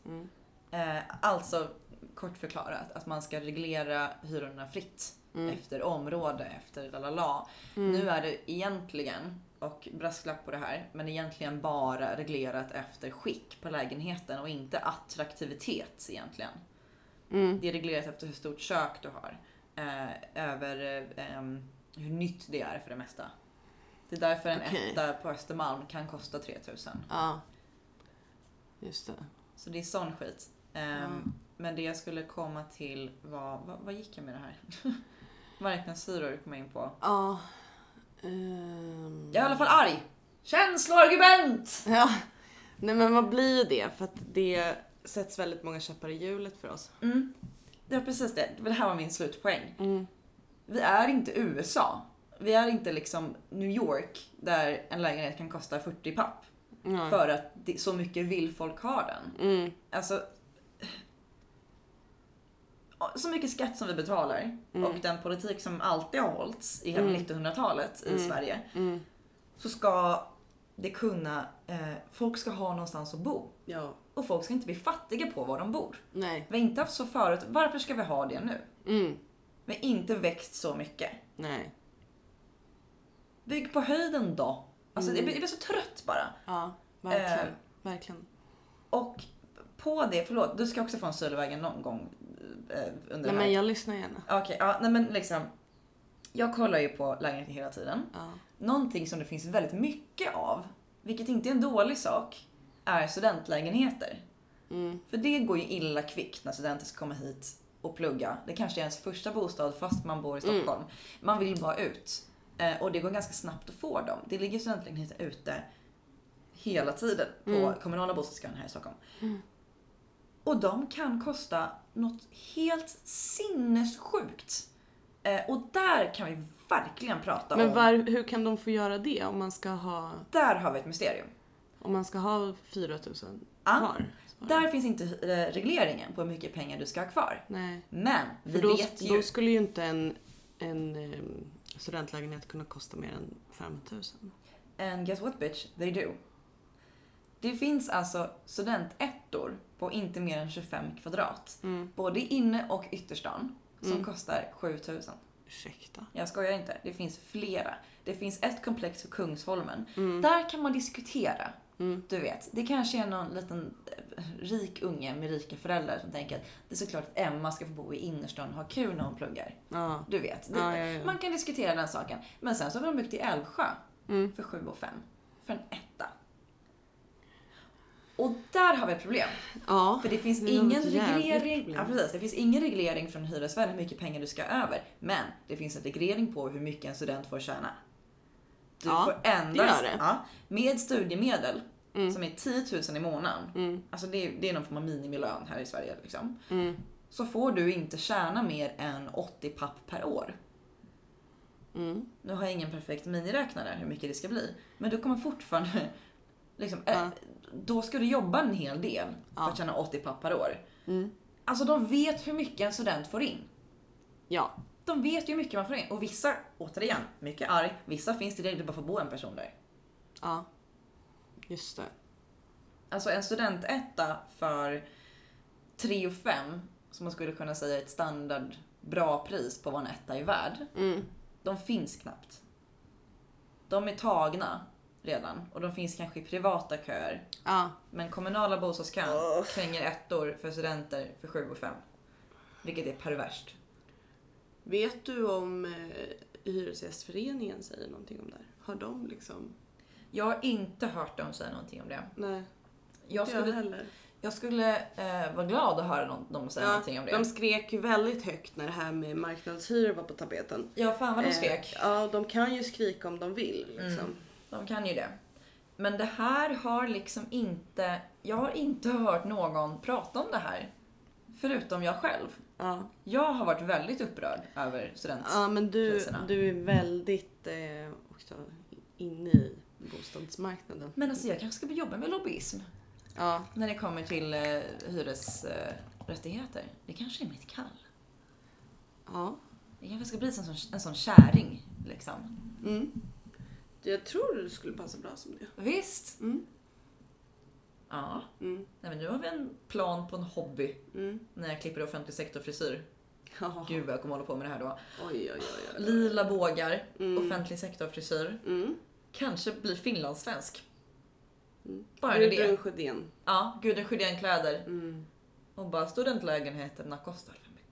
S1: Eh, alltså kort förklarat, att man ska reglera hyrorna fritt
S2: Mm.
S1: efter område, efter lalala. Nu är det egentligen, och brasklapp på det här, men egentligen bara reglerat efter skick på lägenheten och inte attraktivitet egentligen.
S2: Mm.
S1: Det är reglerat efter hur stort kök du har. Eh, över eh, ehm, hur nytt det är för det mesta. Det är därför en
S2: Okej.
S1: etta på Östermalm kan kosta 3000.
S2: Ja. Just det.
S1: Så det är sån skit. Ehm, Men det jag skulle komma till var, vad, vad gick jag med det här? Marknadshyror kom jag in på.
S2: Ja. Ehm,
S1: Jag är i alla fall arg! Känsloargument!
S2: Ja. Nej men vad blir ju det? För att det sätts väldigt många käppar i hjulet för oss.
S1: Det var Mm. precis det. Det här var min slutpoäng. Vi är inte USA. Vi är inte liksom New York där en lägenhet kan kosta 40 papp. För att det, så mycket vill folk ha den.
S2: Mm.
S1: Alltså. Så mycket skatt som vi betalar
S2: Mm.
S1: och den politik som alltid har hållits i hela 1900-talet i Sverige.
S2: Mm.
S1: Så ska det kunna, eh, folk ska ha någonstans att bo.
S2: Ja.
S1: Och folk ska inte bli fattiga på var de bor.
S2: Nej.
S1: Vi har inte haft så förut. Varför ska vi ha det nu?
S2: Mm.
S1: Vi har inte växt så mycket.
S2: Nej.
S1: Bygg på höjden då. Alltså,
S2: Mm.
S1: jag, blir, jag blir så trött bara.
S2: Ja, verkligen.
S1: Eh.
S2: Verkligen.
S1: Och på det, förlåt, du ska också få en sylovägen någon gång eh, under
S2: Nej
S1: det här.
S2: men jag lyssnar gärna.
S1: Okej, ja, nej men liksom. Jag kollar ju på lägenheter hela tiden.
S2: Ja.
S1: Någonting som det finns väldigt mycket av, vilket inte är en dålig sak, är studentlägenheter.
S2: Mm.
S1: För det går ju illa kvickt när studenter ska komma hit och plugga. Det kanske är ens första bostad fast man bor i
S2: Mm.
S1: Stockholm. Man vill bara ut. Eh, Och det går ganska snabbt att få dem. Det ligger studentlägenheter ute hela tiden på
S2: Mm.
S1: kommunala bostadskön här i Stockholm. Och de kan kosta något helt sinnessjukt. Eh, och där kan vi verkligen prata
S2: Men
S1: om...
S2: var, hur kan de få göra det om man ska ha,
S1: där har vi ett mysterium.
S2: om man ska ha 4000
S1: Ja.
S2: kvar?
S1: Där finns inte eh, regleringen på hur mycket pengar du ska ha kvar.
S2: Nej.
S1: Men vi
S2: För då,
S1: vet ju...
S2: då skulle ju inte en, en ehm, studentlägenhet kunna kosta mer än 5000.
S1: And guess what bitch, they do. Det finns alltså studentettor på inte mer än 25 kvadrat. Både inne och ytterstan. Som
S2: Mm.
S1: kostar 7000.
S2: Ursäkta.
S1: Jag skojar inte. Det finns flera. Det finns ett komplex på Kungsholmen.
S2: Mm.
S1: Där kan man diskutera. Du vet, det kanske är någon liten eh, rik unge med rika föräldrar som tänker att det är såklart att Emma ska få bo i innerstan och ha kul när hon pluggar.
S2: Ja.
S1: Du vet, det,
S2: Ja, ja, ja.
S1: man kan diskutera den saken. Men sen så har de byggt i Älvsjö
S2: Mm.
S1: för 7 och 5 För en etta. Och där har vi ett problem.
S2: ja.
S1: För det finns
S2: Det är
S1: ingen
S2: ett jävligt
S1: reglering.
S2: problem.
S1: Ja, precis. Det finns ingen reglering från hyresvärden hur mycket pengar du ska ha över. Men det finns en reglering på hur mycket en student får tjäna. Du
S2: Ja,
S1: får endast,
S2: det.
S1: Ja, med studiemedel
S2: Mm.
S1: som är 10 000 i månaden. Alltså det, är- det är någon form av minimilön här i Sverige. Liksom.
S2: Mm.
S1: Så får du inte tjäna mer än 80 papp per år.
S2: Mm.
S1: Nu har jag ingen perfekt miniräknare hur mycket det ska bli. Men du kommer fortfarande... Liksom, eh, Då ska du jobba en hel del för att tjäna 80 papp per år.
S2: Mm.
S1: Alltså de vet hur mycket en student får in.
S2: Ja.
S1: De vet ju hur mycket man får in. Och vissa, återigen, mycket arg. Vissa finns det där det bara får bo en person där.
S2: Ja. Just det.
S1: Alltså en studentetta för 3 och 5 som man skulle kunna säga är ett standard bra pris på vad en etta är värd. De finns knappt. De är tagna redan och de finns kanske i privata köer.
S2: Ja.
S1: Men kommunala bostadskön kränger ettor för studenter för 7 och 5. Vilket är perverst.
S2: Vet du om eh, Hyresgästföreningen säger någonting om det här? Har de liksom?
S1: Jag har inte hört dem säga någonting om det.
S2: Nej,
S1: Jag
S2: inte jag
S1: skulle,
S2: heller.
S1: jag skulle eh, vara glad att höra någon, dem säga någonting om det.
S2: de skrek ju väldigt högt när det här med marknadshyror var på tapeten.
S1: Ja, fan vad de skrek. Mm.
S2: Eh, ja, de kan ju skrika om de vill liksom.
S1: De kan ju det. Men det här har liksom inte... Jag har inte hört någon prata om det här. Förutom jag själv.
S2: Ja.
S1: Jag har varit väldigt upprörd över student...
S2: ja, men du,
S1: Priserna.
S2: du är väldigt eh, också inne i bostadsmarknaden.
S1: Men alltså jag kanske ska börja jobba med lobbyism.
S2: Ja,
S1: När det kommer till eh, hyresrättigheter. Eh, rättigheter. det kanske är mitt kall.
S2: ja.
S1: Jag kanske ska bli en sån, en sån käring. Liksom.
S2: Mm. Jag tror du skulle passa bra som det.
S1: Visst?
S2: Mm.
S1: Ja.
S2: Mm.
S1: Nej, men nu har vi en plan på en hobby.
S2: Mm.
S1: När jag klipper offentlig sektor-frisyr.
S2: Ja.
S1: Gud vad jag kommer hålla på med det här då.
S2: Oj, oj, oj. oj.
S1: Lila bågar, offentlig sektor-frisyr.
S2: Mm.
S1: Kanske bli finlandssvensk. Bara en idé.
S2: Gudrun Sjödén.
S1: Ja, Gudrun Sjödén-kläder.
S2: Mm.
S1: Och bara studentlägenheterna kostar för mycket.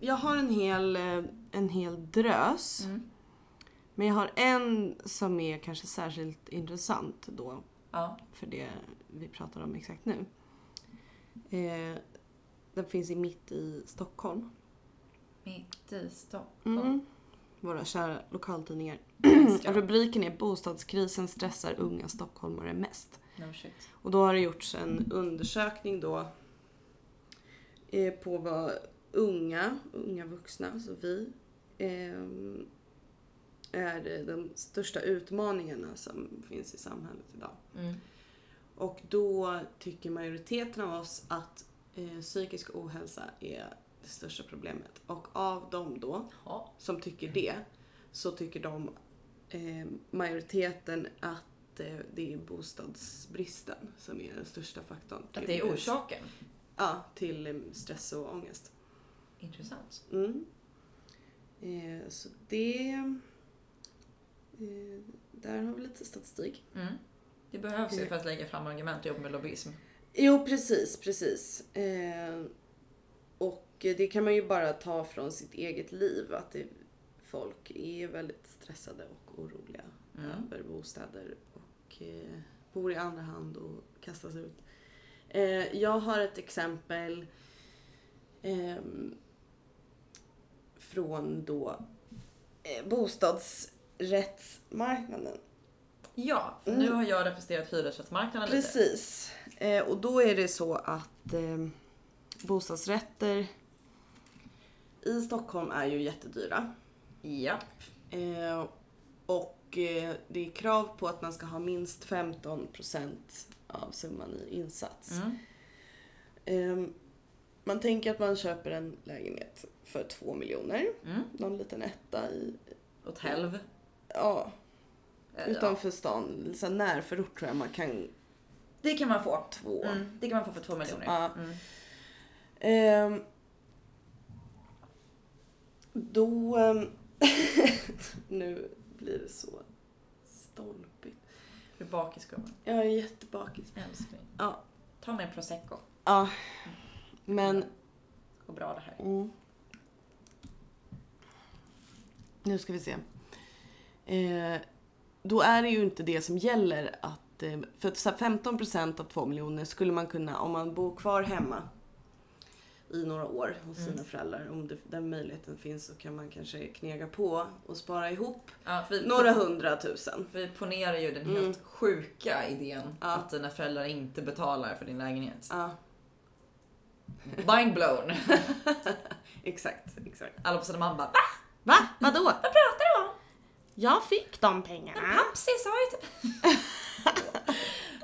S2: Jag har en hel, eh, en hel drös.
S1: Mm.
S2: Men jag har en som är kanske särskilt intressant då
S1: Ja.
S2: för det vi pratar om exakt nu. Eh, den finns i mitt i Stockholm.
S1: Mitt i Stockholm.
S2: Mm. våra kära lokaltidningar. Rubriken är “Bostadskrisen stressar unga stockholmare mest”.
S5: No shit.
S2: Och då har det gjorts en undersökning då eh, på vad unga, unga vuxna, alltså vi, ehm, är de största utmaningarna som finns i samhället idag.
S1: Mm.
S2: Och då tycker majoriteten av oss att eh, psykisk ohälsa är det största problemet. Och av dem då,
S1: Ja.
S2: som tycker det, så tycker de eh, majoriteten att eh, det är bostadsbristen som är den största faktorn.
S1: Att det är orsaken.
S2: Ja, till eh, stress och ångest.
S1: Intressant.
S2: Mm. Eh, så det... Eh, där har vi lite statistik.
S1: Mm. Det behövs
S2: Mm.
S1: ju för att lägga fram argument och jobba med lobbyism.
S2: Jo, precis, precis. Eh, och det kan man ju bara ta från sitt eget liv att det, folk är väldigt stressade och oroliga
S1: Mm.
S2: över bostäder och eh, bor i andra hand och kastas ut. Eh, jag har ett exempel ehm, från då eh, bostadsrättsmarknaden.
S1: Ja, för nu har jag representerat hyresrättsmarknaden lite.
S2: Mm. Precis. Eh, och då är det så att eh, bostadsrätter i Stockholm är ju jättedyra.
S1: Ja.
S2: Eh, och eh, det är krav på att man ska ha minst 15% av summan i insats.
S1: Mm.
S2: Eh, man tänker att man köper en lägenhet för 2 miljoner.
S1: Mm.
S2: Någon liten etta i,
S1: Åt helv.
S2: ja, Mm.
S1: Eh, Ja.
S2: utanför stan. Så här närförort tror jag man kan
S1: Det kan man få.
S2: två.
S1: Mm. Det kan man få för två miljoner.
S2: Ja.
S1: Mm.
S2: Ehm, då... ehm, nu blir det så stolpigt.
S1: Du är bakis gumman.
S2: Jag är jättebakis.
S1: Älskling.
S2: Ja.
S1: Ta med en prosecco.
S2: Ja. Men...
S1: Går bra det här.
S2: Mm. Nu ska vi se. Eh, då är det ju inte det som gäller att... eh, För att så här 15% av 2 miljoner skulle man kunna, om man bor kvar hemma i några år hos sina föräldrar, om det, den möjligheten finns så kan man kanske knega på och spara ihop
S1: Ja, vi,
S2: några Mm. hundratusen.
S1: Vi ponerar ju den helt sjuka idén att dina föräldrar inte betalar för din lägenhet.
S2: Ja,
S1: Mind blown!
S2: exakt, exakt.
S1: Alla på Södermalm bara
S2: Va? Vadå? Vad pratar
S1: du om?
S2: Jag fick de pengarna.
S1: Papsi sa ju typ...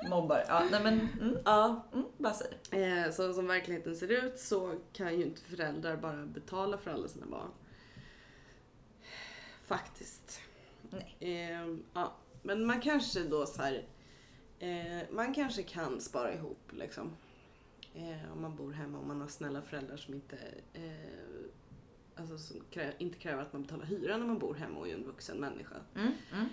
S1: Mobbar. Ja, nej men mm,
S2: Ja,
S1: mm, bara säg.
S2: Eh, så som verkligheten ser ut så kan ju inte föräldrar bara betala för alla sina barn. Faktiskt.
S1: Nej.
S2: Eh, ja. Men man kanske då så här, eh, man kanske kan spara ihop liksom. Eh, om man bor hemma och man har snälla föräldrar som inte eh, Alltså som krä- inte kräver att man betalar hyra när man bor hemma och är en vuxen människa.
S1: Mm, mm.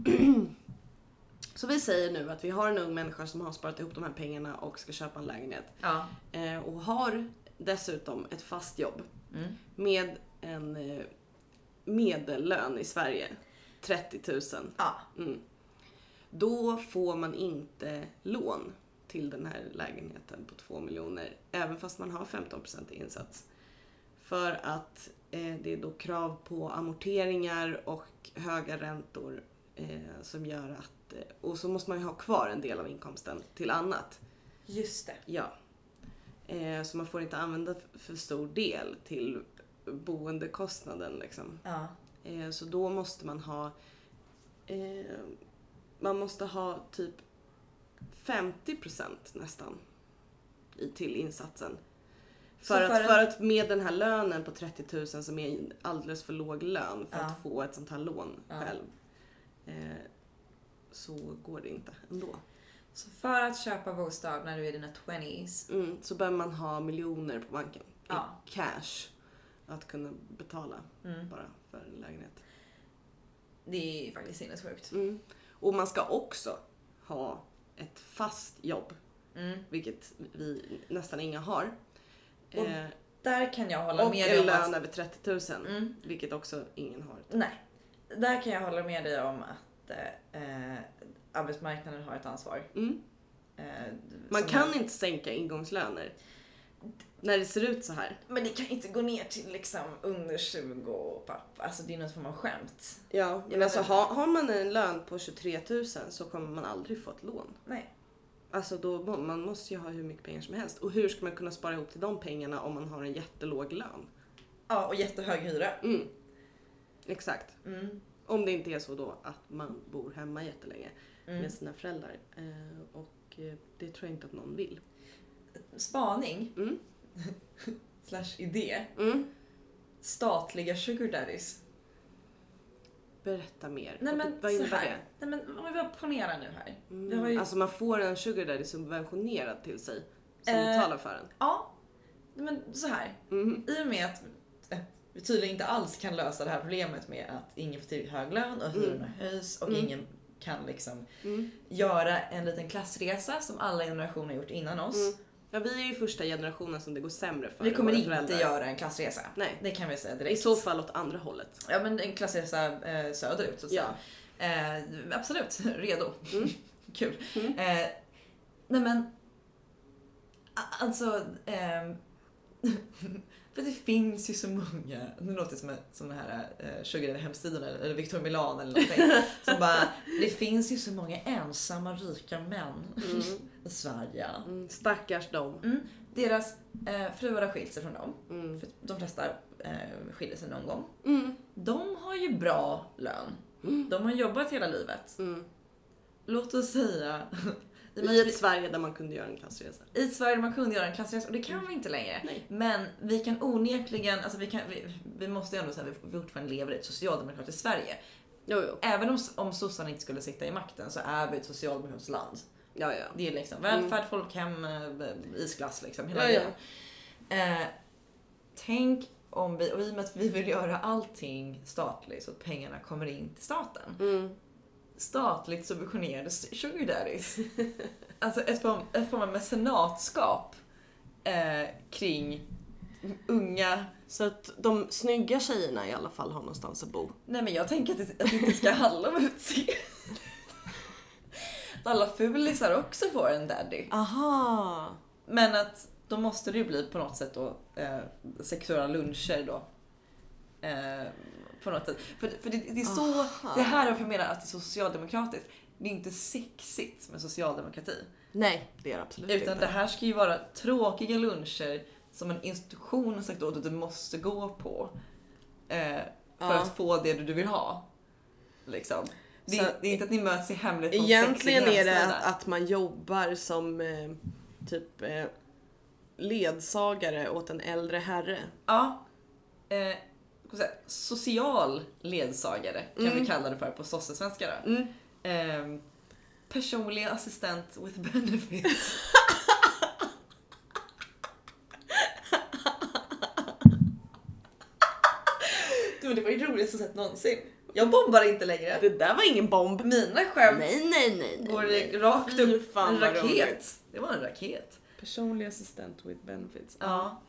S2: Ehm, Så vi säger nu att vi har en ung människa som har sparat ihop de här pengarna och ska köpa en lägenhet.
S1: Ja.
S2: Eh, Och har dessutom ett fast jobb
S1: Mm.
S2: med en eh, medellön i Sverige, 30 000.
S1: ja.
S2: Mm. Då får man inte lån till den här lägenheten på 2 miljoner, även fast man har 15% i insats. För att eh, det är då krav på amorteringar och höga räntor eh, som gör att... Eh, och så måste man ju ha kvar en del av inkomsten till annat.
S1: Just det.
S2: Ja. Eh, så man får inte använda f- för stor del till boendekostnaden liksom.
S1: Ja.
S2: Eh, Så då måste man ha eh, man måste ha typ 50% nästan i, till insatsen.
S1: Så
S2: För,
S1: för
S2: att,
S1: en-
S2: för att med den här lönen på 30 000 som är en alldeles för låg lön för
S1: Ja.
S2: att få ett sånt här lån
S1: Ja.
S2: själv. Eh, så går det inte ändå.
S1: Så för att köpa bostad när du är i dina 20s.
S2: Mm, så behöver man ha miljoner på banken i
S1: Ja.
S2: cash. Att kunna betala
S1: Mm.
S2: bara för en lägenhet.
S1: Det är ju faktiskt sinnessjukt.
S2: Mm. Och man ska också ha ett fast jobb,
S1: Mm.
S2: vilket vi nästan inga har.
S1: Och
S2: Eh,
S1: Där kan jag hålla
S2: och
S1: med dig
S2: en
S1: om att
S2: lön över 30 000,
S1: Mm.
S2: vilket också ingen har.
S1: Nej, där kan jag hålla med dig om att eh, eh, arbetsmarknaden har ett ansvar.
S2: Mm.
S1: Eh,
S2: Man
S1: som-
S2: kan inte sänka ingångslöner. När det ser ut så här.
S1: Men det kan inte gå ner till liksom under 20 papp. Alltså det är någon form av skämt.
S2: Ja, men
S1: vet
S2: alltså
S1: inte.
S2: har, har man en lön på 23 000 så kommer man aldrig få ett lån.
S1: Nej.
S2: Alltså då, må- man måste ju ha hur mycket pengar som helst. Och hur ska man kunna spara ihop till de pengarna om man har en jättelåg lön?
S1: Ja, och jättehög hyra.
S2: Mm. Exakt.
S1: Mm.
S2: Om det inte är så då att man bor hemma jättelänge
S1: Mm.
S2: med sina föräldrar. Eh, och eh, det tror jag inte att någon vill.
S1: Spaning.
S2: Mm.
S1: Slash idé.
S2: Mm.
S1: Statliga sugar daddies.
S2: Berätta mer.
S1: Nej
S2: Vad-
S1: men
S2: Vad
S1: så
S2: innebär
S1: här.
S2: det?
S1: Nej men om vi ponerar nu här. Vi har
S2: Mm.
S1: ju,
S2: Alltså man får en sugar daddy subventionerad till sig. Som
S1: Eh.
S2: betalar för en.
S1: ja. Nej, Men så här.
S2: Mhm.
S1: I och med att eh, vi tydligen inte alls kan lösa det här problemet med att ingen får till hög lön och hyrorna höjs och ingen kan liksom
S2: Mm.
S1: göra en liten klassresa som alla generationer har gjort innan oss.
S2: Mm. Ja vi är ju första generationen som det går sämre för.
S1: Vi
S2: än
S1: kommer
S2: våra
S1: inte
S2: föräldrar.
S1: göra en klassresa.
S2: Nej.
S1: Det kan vi säga
S2: I
S1: direkt.
S2: så fall åt andra hållet.
S1: Ja men en klassresa eh, söderut så att
S2: Ja.
S1: säga. Eh, absolut, redo.
S2: Mm.
S1: Kul.
S2: Mm.
S1: Eh, nej men. a- Alltså. ehm, för det finns ju så många, nu låter det som, som den här eh, Sugar hemsidan eller, eller Victor Milan eller någonting. som bara, det finns ju så många ensamma rika män
S2: Mm.
S1: i Sverige.
S2: Mm. Stackars dem.
S1: Deras eh, fruar har skilt sig från dem.
S2: Mm.
S1: För de flesta eh, skiljer sig någon gång.
S2: Mm.
S1: De har ju bra lön. De har jobbat hela livet.
S2: Mm.
S1: Låt oss säga i, och med
S2: I
S1: att
S2: ett Sverige där man kunde göra en klassresa.
S1: vi- i Sverige man kunde göra en klassresa och det kan vi inte längre.
S2: Nej.
S1: Men vi kan onekligen, alltså vi, kan, vi, vi måste ju ändå säga att vi fortfarande lever i ett socialdemokratiskt Sverige.
S2: Jo, jo.
S1: Även om, om sossarna inte skulle sitta i makten så är vi ett socialdemokratiskt land.
S2: Ja, ja.
S1: Det är liksom välfärd, folkhem, eh, isglass liksom. Hela
S2: Mm. Ja,
S1: grejen. Eh, tänk om vi, och i och med att vi vill göra allting statligt så att pengarna kommer in till staten.
S2: Mm.
S1: Statligt subventionerade sugar daddies. alltså ett form, ett form av mecenatskap eh, kring unga
S2: Så att de snygga tjejerna i alla fall har någonstans att bo.
S1: Nej men jag tänker att det, att det inte ska handla om utseende. Att alla fulisar också får en daddy.
S2: Aha!
S1: Men att då måste det ju bli på något sätt då eh, sexuella luncher då. Eh, på något sätt. För, för det, det är så,
S2: Aha.
S1: det här är varför jag menar att det är så socialdemokratiskt. Det är inte sexigt med socialdemokrati.
S2: Nej, det är det absolut
S1: Utan
S2: inte.
S1: det här ska ju vara tråkiga luncher som en institution har sagt åt att du måste gå på. Eh, för
S2: Ja.
S1: att få det du vill ha. Liksom. Det, är-
S2: Så-
S1: det är inte att ni möts i hemlighet på en
S2: Egentligen
S1: sexig
S2: är det
S1: hemsida.
S2: att, att man jobbar som eh, typ eh, ledsagare åt en äldre herre.
S1: Ja. Eh, ska vi säga, social ledsagare kan
S2: Mm.
S1: vi kalla det för på sossesvenska då.
S2: Mm.
S1: Eh, personlig assistent with benefits. Du, men det var ju roligaste sätt någonsin. Jag bombar inte längre.
S2: Det där var ingen bomb.
S1: Mina skämt
S2: Nej, nej, nej.
S1: går
S2: nej.
S1: rakt
S2: Fy
S1: upp.
S2: fan
S1: en
S2: vad
S1: raket.
S2: roligt.
S1: Det var en raket.
S2: Personlig assistent with benefits.
S1: Ja.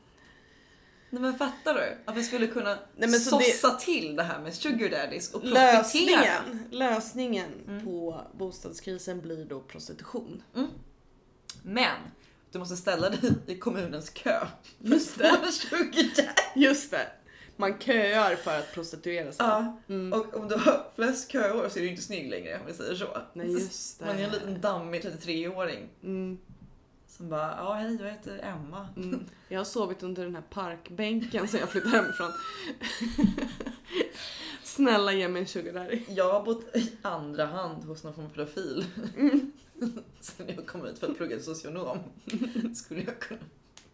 S1: Nej men fattar du? Att vi skulle kunna
S2: Nej, men så det-
S1: sossa till det här med sugar daddies och profitera.
S2: Lösningen, lösningen på bostadskrisen blir då prostitution.
S1: Men du måste ställa dig i kommunens kö.
S2: Just
S1: För att få en sugar daddy.
S2: Just det. Man köar för att prostituera sig. Mm.
S1: Ja. Och om du har flest köår så är du ju inte snygg längre om vi säger så.
S2: Nej just det.
S1: Man är en liten dammig 33-åring
S2: Mm,
S1: som bara ja hej jag heter Emma.
S2: mm. Jag har sovit under den här parkbänken sen jag flyttade hemifrån. Snälla ge mig en sugar daddy.
S1: Jag har bott i andra hand hos någon form av profil. Sen jag kom ut för att plugga till socionom. Skulle jag kunna,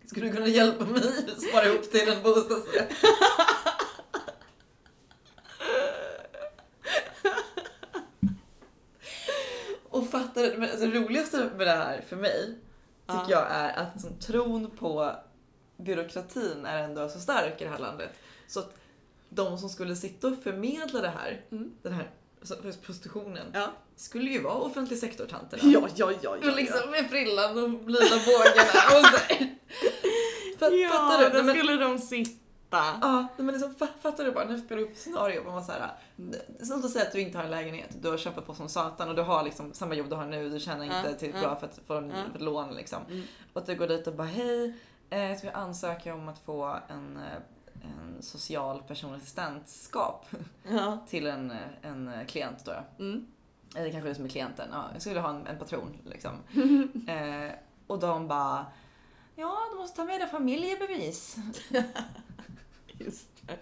S1: skulle du kunna hjälpa mig att spara ihop till en bostadsrätt? Och fattar du? Men alltså, det roligaste med det här för mig tycker
S2: Ja.
S1: jag är att liksom, tron på byråkratin är ändå så stark i det här landet. Så att de som skulle sitta och förmedla det här,
S2: Mm.
S1: den här alltså, för prostitutionen,
S2: Ja.
S1: skulle ju vara offentlig sektor-tanterna.
S2: Ja, ja, ja.
S1: Och liksom med frillan och blida bågarna och så här. Fatt,
S2: ja
S1: fattar du? Nej,
S2: Där
S1: men,
S2: skulle de sitta.
S1: ja, nej, men liksom, fa- fattar du bara? Nu spelar jag upp scenario på man så här. Som att säga att du inte har en lägenhet, du har kämpat på som satan och du har liksom samma jobb du har nu, du tjänar
S2: Ja,
S1: inte tillräckligt
S2: ja,
S1: bra för att få en,
S2: ja.
S1: för ett lån liksom.
S2: Mm.
S1: Och att du går dit och bara hej, Eh, så jag ansöker om att få en, eh, en social personassistentskap
S2: Ja.
S1: till en, eh, en eh, klient då.
S2: Mm.
S1: Eller kanske det som är klienten. Ja, jag skulle ha en, en patron liksom. eh, och de bara Ja, du måste ta med dig familjebevis.
S2: Just det.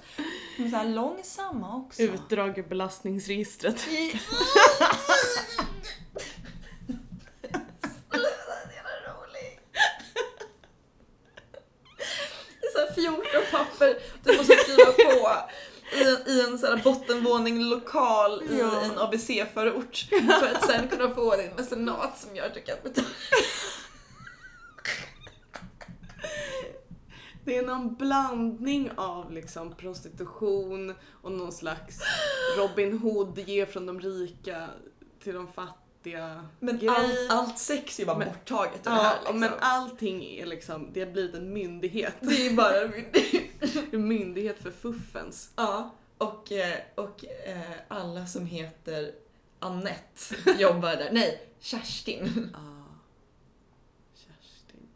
S1: Men så här långsamma också.
S2: Utdrag ur belastningsregistret.
S1: Det är så här 14 papper du måste skriva på i, i en så här bottenvåning lokal i
S2: Ja.
S1: en ABC-förort för att sen kunna få din mecenat som gör att du kan betala.
S2: Det är någon blandning av liksom prostitution och någon slags Robin Hood, ge från de rika till de fattiga.
S1: Men
S2: grej.
S1: allt, allt sex är ju bara
S2: Men-
S1: borttaget ur det
S2: Ja,
S1: här liksom.
S2: men allting är liksom, det har blivit en myndighet.
S1: Det är bara myndighet.
S2: En myndighet för fuffens.
S1: Ja, och, eh, och eh, alla som heter Annette jobbar där. Nej, Kerstin.
S2: Ah. Kerstin.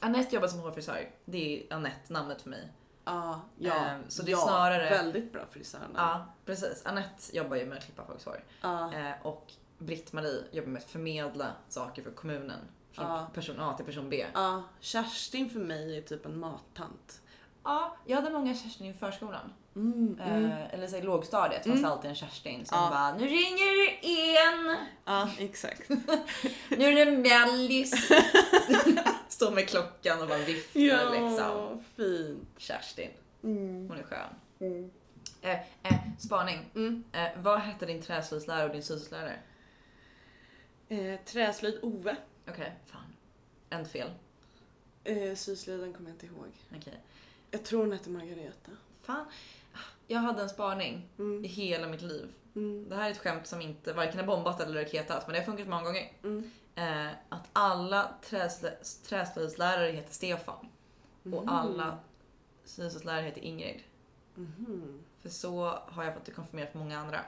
S1: Annette jobbar som hårfrisör. Det är Annette namnet för mig.
S2: Ah, ja,
S1: Ehm, så det är
S2: ja,
S1: snarare-
S2: Väldigt bra frisörerna.
S1: Ja, precis. Annette jobbar ju med att klippa folks hår.
S2: Ah.
S1: Eh, och Britt-Marie jobbar med att förmedla saker för kommunen. Från
S2: Ja.
S1: person A till person B.
S2: Ja, Kerstin för mig är typ en mattant.
S1: Ja, jag hade många Kerstin i förskolan.
S2: Mm, mm.
S1: Eh, eller så i lågstadiet fanns det alltid en Kerstin som
S2: Ja.
S1: bara “Nu ringer det en,
S2: Ja, exakt.
S1: nu är det mellis”. Står med klockan och bara viftar
S2: ja,
S1: liksom.
S2: fint.
S1: Kerstin,
S2: Mm.
S1: hon är skön.
S2: Mm.
S1: Eh, eh, spaning.
S2: Mm.
S1: Eh, vad hette din träslöjdslärare och din syslöjdslärare?
S2: Eh, träslöjd Ove.
S1: Okej, fan. En fel.
S2: Eh, syslöjden kommer jag inte ihåg.
S1: Okej.
S2: Jag tror hon hette Margareta.
S1: Fan. Jag hade en spaning
S2: Mm.
S1: i hela mitt liv.
S2: Mm.
S1: Det här är ett skämt som inte varken har bombat eller raketat, men det har funkat många gånger.
S2: Mm.
S1: Eh, att alla träslö- träslöjdslärare heter Stefan
S2: mm.
S1: och alla syslöjdslärare heter Ingrid.
S2: Mhm.
S1: För så har jag fått det konfirmerat för många andra.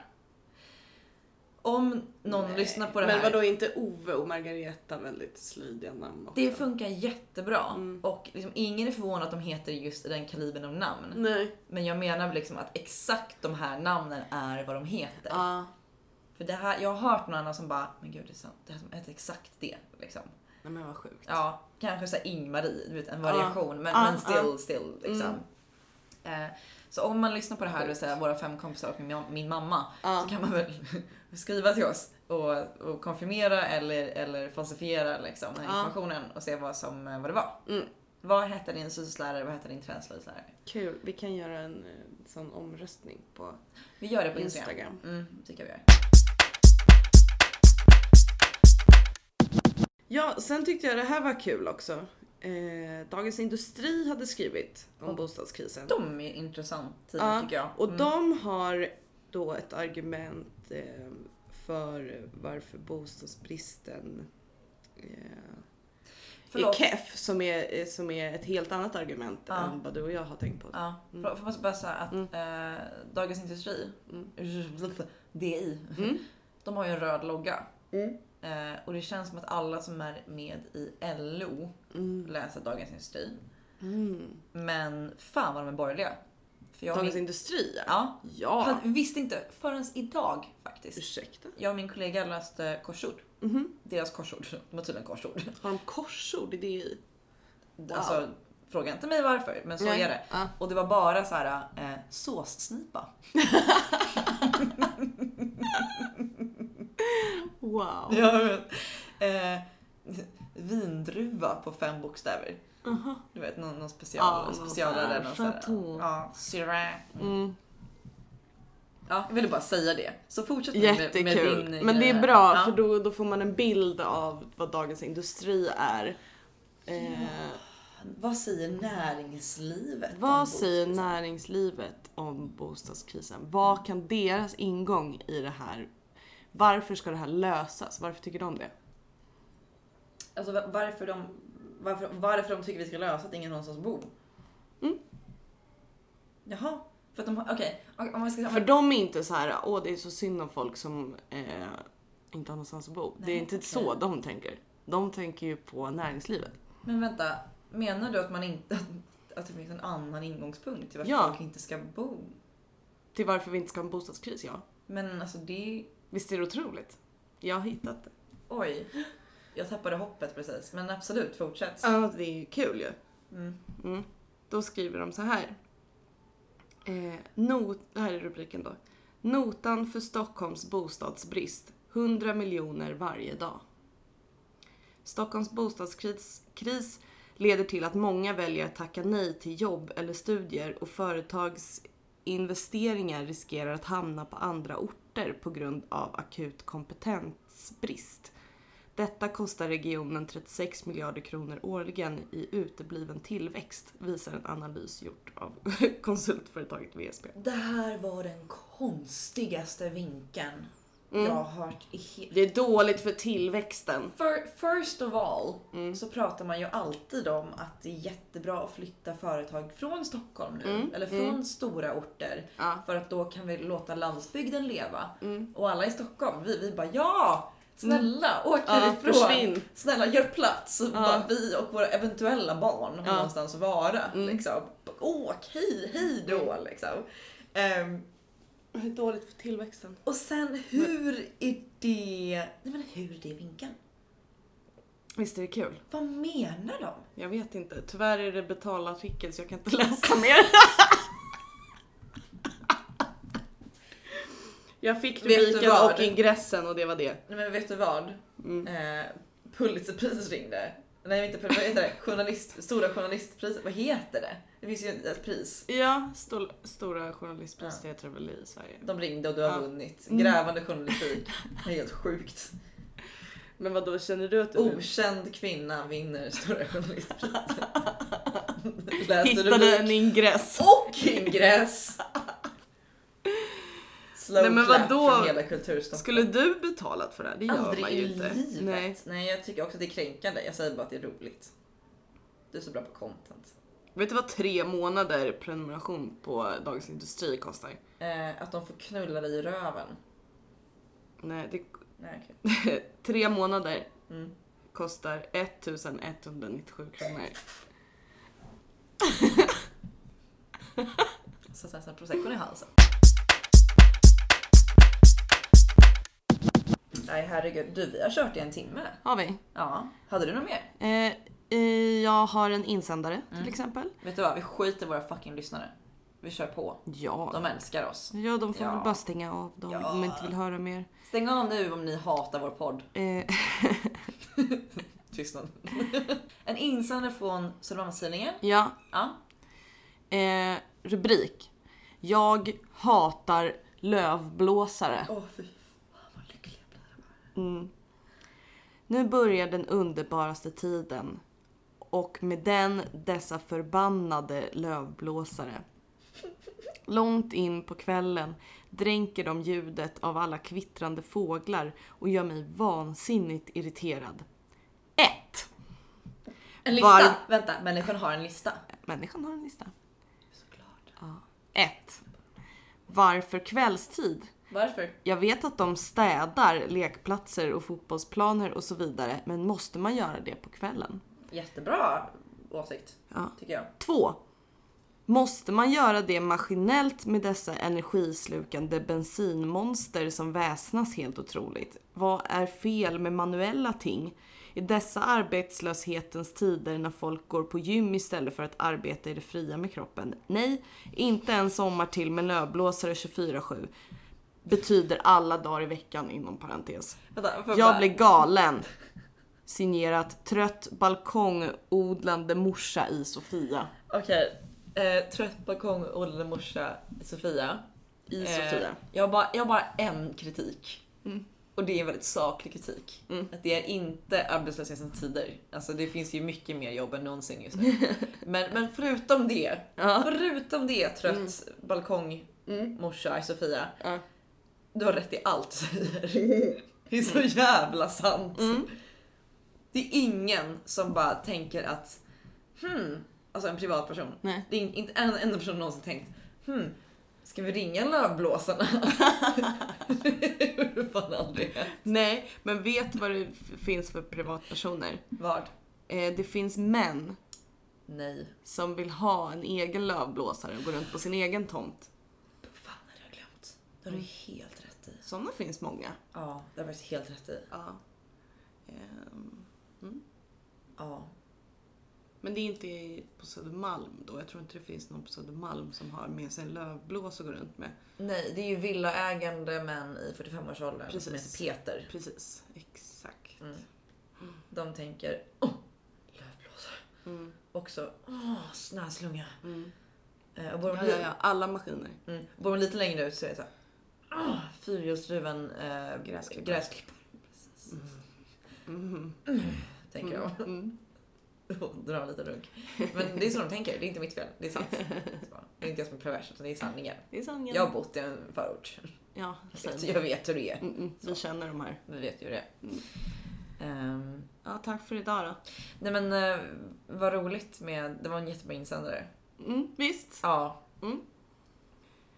S1: Om någon lyssnar på det
S2: Men
S1: här.
S2: vadå, inte Ove och Margareta väldigt slöjdiga namn också?
S1: Det funkar jättebra
S2: Mm.
S1: och liksom ingen är förvånad att de heter just den kalibern av namn.
S2: Nej.
S1: Men jag menar liksom att exakt de här namnen är vad de heter.
S2: Ja.
S1: För det här, jag har hört någon annan som bara, men gud det är sant, det här är exakt det. Liksom.
S2: Nej men vad sjukt.
S1: Ja, kanske såhär Ing-Marie, du vet en
S2: Ja.
S1: variation. Men,
S2: Ja, Ah, Mm.
S1: men still,
S2: ja.
S1: still liksom. Eh, så om man lyssnar på det här, det vill säga våra fem kompisar och min, min mamma,
S2: Ja.
S1: så kan man väl skriva till oss och, och konfirmera eller, eller falsifiera liksom, den här
S2: Ja.
S1: informationen och se vad, som, eh, vad det var.
S2: Ah. Mm.
S1: Vad hette din syslärare, vad hette din träslöjdslärare?
S2: Kul, vi kan göra en eh, sån omröstning på
S1: Vi gör det på Instagram.
S2: Instagram.
S1: Mm, det tycker jag vi gör.
S2: Ja, sen tyckte jag det här var kul också. Eh, Dagens Industri hade skrivit om bostadskrisen.
S1: De är intressant tid
S2: Ja,
S1: tycker jag.
S2: Mm. Ah.
S1: Mm.
S2: Och de har då ett argument eh, för varför bostadsbristen eh, är
S1: Förlåt.
S2: keff, som är, eh, som är ett helt annat argument
S1: Ja.
S2: än vad du och jag har tänkt på.
S1: Ja,
S2: Mm.
S1: för, för bara säga att eh, Dagens Industri,
S2: Mm.
S1: DI, de har ju en röd logga.
S2: Mm.
S1: Eh, och det känns som att alla som är med i LO läser Dagens Industri. Men fan vad de är borgerliga. För jag och
S2: Mm. Dagens
S1: min,
S2: Industri ja.
S1: ja,
S2: ja.
S1: hade- visste inte förrän idag faktiskt.
S2: Ursäkta. Mm-hmm.
S1: Jag och min kollega läste korsord. Deras korsord. De har tydligen korsord.
S2: Har de korsord i DI?
S1: Alltså, fråga inte mig varför, men så
S2: Nej.
S1: är det.
S2: Ja.
S1: Och det var bara så här eh, såssnipa.
S2: Wow.
S1: Ja, men, eh, vindruva på fem bokstäver. Du vet någon, någon special,
S2: Ja, någon
S1: specialare.
S2: så här
S1: Någon så här,
S2: chateau.
S1: ja, Syrah.
S2: Mm.
S1: ja, jag ville bara säga det. Så fortsätt nu
S2: Jättekul.
S1: med, med din
S2: Men det
S1: grej
S2: är
S1: här.
S2: bra
S1: Ja.
S2: för då, då får man en bild av vad Dagens Industri är. Eh,
S1: Vad säger näringslivet? om
S2: Vad
S1: bok-
S2: säger näringslivet om bostadskrisen? Vad kan deras ingång i det här? Varför ska det här lösas? Varför tycker de det?
S1: Alltså va- varför de, varför, varför de tycker vi ska lösa att ingen någonstans bor?
S2: Mm.
S1: Jaha, för att de har, okej. om man ska-
S2: För de är inte så här, åh det är så synd om folk som eh, inte har någonstans att bo. det är inte
S1: okej.
S2: så de tänker. De tänker ju på näringslivet.
S1: Men vänta, menar du att man inte att det finns en annan ingångspunkt till varför
S2: Ja.
S1: folk inte ska bo?
S2: Till varför vi inte ska ha en bostadskris, ja.
S1: Men alltså det är
S2: Visst är det otroligt? Jag har hittat det.
S1: Oj. Jag tappade hoppet precis, men absolut fortsätt.
S2: Ja, det är ju kul ju.
S1: Mm.
S2: Mm. Då skriver de så här. Eh, not, det här är rubriken då. Notan för Stockholms bostadsbrist. 100 miljoner varje dag. Stockholms bostadskris kris leder till att många väljer att tacka nej till jobb eller studier och företags investeringar riskerar att hamna på andra orter på grund av akut kompetensbrist. Detta kostar regionen 36 miljarder kronor årligen i utebliven tillväxt, visar en analys gjord av konsultföretaget VSP.
S1: Det här var den konstigaste vinkeln
S2: Mm.
S1: jag har hört i hela...
S2: Det är dåligt för tillväxten.
S1: För, first of all
S2: Mm.
S1: så pratar man ju alltid om att det är jättebra att flytta företag från Stockholm nu, eller från stora orter.
S2: Mm, Ja. Mm.
S1: För att då kan vi låta landsbygden leva. Och alla i Stockholm, vi, vi bara ja! Snälla åk
S2: Ja,
S1: härifrån!
S2: försvinn.
S1: Snälla gör plats! Bara, vi och våra eventuella barn har någonstans att vara.
S2: Mm.
S1: Liksom. Åk, hej, hej då! Liksom. Ehm,
S2: Det är dåligt för tillväxten.
S1: och sen hur är det... Nej men hur är det vinkeln?
S2: Visst är det kul?
S1: Vad menar de?
S2: Jag vet inte. Tyvärr är det betalartikel så jag kan inte läsa mer. jag fick
S1: Vet du
S2: rubriken
S1: vad?
S2: och ingressen och det var det. Mm.
S1: Nej men vet du vad? Eh, Pulitzerpriset ringde. Nej inte Pulitzerpriset, vad heter det? Journalist, stora journalistpriset, vad heter det? Det finns ju ett pris.
S2: Ja, stol, Stora Journalistpriset heter det väl i Sverige.
S1: De ringde och du har vunnit.
S2: Mm.
S1: Grävande journalistik. Det är helt sjukt.
S2: Men vad då känner du att du
S1: Okänd kvinna vinner Stora journalistpriset. Läste
S2: hittade en
S1: rubrik
S2: ingress?
S1: och ingress. Slow
S2: Nej, men
S1: clap
S2: vadå?
S1: från hela kulturstopp.
S2: Skulle du betalat för det här? Det gör
S1: Aldrig
S2: man ju
S1: i
S2: inte.
S1: livet.
S2: Nej.
S1: Nej. jag tycker också att det är kränkande. Jag säger bara att det är roligt. Du är så bra på content.
S2: Vet du vad tre månader prenumeration på Dagens Industri kostar?
S1: Eh, att de får knulla dig i röven.
S2: Nej, det,
S1: Nej, okej.
S2: tre månader
S1: Mm.
S2: kostar 1197 kronor.
S1: Så sen snart proseccon i halsen. Nej herregud, du vi har kört i en timme.
S2: Har vi?
S1: Ja. Hade du något mer?
S2: Eh, eh, jag har en insändare till exempel.
S1: Vet du vad, vi skiter i våra fucking lyssnare. Vi kör på.
S2: Ja.
S1: De älskar oss.
S2: Ja, de får
S1: Ja.
S2: väl bara stänga av dem
S1: Ja.
S2: om de inte vill höra mer.
S1: Stäng av nu om ni hatar vår podd.
S2: Eh,
S1: Tystnad. en insändare från Södermalmstidningen.
S2: ja,
S1: Ja.
S2: eh, rubrik. Jag hatar lövblåsare. Mm.
S1: Åh fy fan vad lycklig jag blir.
S2: Nu börjar den underbaraste tiden och med den dessa förbannade lövblåsare. Långt in på kvällen dränker de ljudet av alla kvittrande fåglar och gör mig vansinnigt irriterad. 1.
S1: En lista!
S2: Var-
S1: Vänta, människan har en lista.
S2: Människan har en lista. Ja. 1. Varför kvällstid?
S1: Varför?
S2: Jag vet att de städar lekplatser och fotbollsplaner och så vidare, men måste man göra det på kvällen?
S1: Jättebra åsikt,
S2: Ja.
S1: tycker jag.
S2: 2. Måste man göra det maskinellt med dessa energislukande bensinmonster som väsnas helt otroligt? Vad är fel med manuella ting? I dessa arbetslöshetens tider när folk går på gym istället för att arbeta i det fria med kroppen? Nej, inte en sommar till med lövblåsare 24-7. Betyder alla dagar i veckan inom parentes.
S1: Vänta, får jag
S2: Jag
S1: bara-
S2: blir galen. Signerat trött balkongodlande morsa i Sofia.
S1: Okej. Eh, trött balkong, odlade morsa, Sofia.
S2: I
S1: Eh,
S2: Sofia. Mm.
S1: Jag har bara, jag har bara en kritik. Och det är en väldigt saklig kritik. Att det är inte arbetslöshetens tider. Alltså det finns ju mycket mer jobb än någonsin just nu. men, men förutom det. Förutom det trött
S2: Mm.
S1: balkong morsa i Sofia.
S2: Ja.
S1: Du har rätt i allt du säger. Det är så jävla sant. Det är ingen som bara tänker att hmm, alltså en privatperson.
S2: Nej.
S1: Det är inte en enda person någonsin tänkt hmm, Ska vi ringa lövblåsarna? det gjorde du fan aldrig.
S2: Nej, men vet vad det f- finns för privatpersoner?
S1: Vad?
S2: Eh, det finns män
S1: Nej.
S2: som vill ha en egen lövblåsare och gå runt på sin egen tomt.
S1: Fan, det har jag glömt. Det har du helt rätt i.
S2: Sådana finns många.
S1: Mm. Ja, det har du faktiskt helt rätt i.
S2: Ja. Ehm,
S1: Ja.
S2: Men det är inte på Södermalm då. Jag tror inte det finns någon på Södermalm som har med sig en lövblås och går runt med.
S1: Nej, det är ju villaägande män i 45-årsåldern
S2: Precis.
S1: som heter Peter.
S2: Precis, exakt.
S1: De tänker åh, lövblåsare.
S2: Mm.
S1: Också åh, snöslunga. Eh, och bor, de
S2: Ja, ja,
S1: lite,
S2: ja. Alla maskiner.
S1: Mm, bor de lite längre ut så är det såhär åh, fyrhjulsdriven eh,
S2: Gräsklippare.
S1: gräsklippare. Precis. Tänker de.
S2: Mm.
S1: Och drar lite runk. Men det är så de tänker, det är inte mitt fel. Det är sant. Så. Det är inte jag som är pervers, utan det är sanningen.
S2: Det är sanningen.
S1: Jag har bott i en förort.
S2: Ja,
S1: Så
S2: säg det.
S1: jag vet hur det är.
S2: Mm, mm, vi känner de här.
S1: Vi vet ju hur det.
S2: Mm.
S1: är. Ehm,
S2: Ja, tack för idag då.
S1: Nej men eh, vad roligt med, det var en jättebra insändare.
S2: Mm, visst.
S1: Ja.
S2: Mm.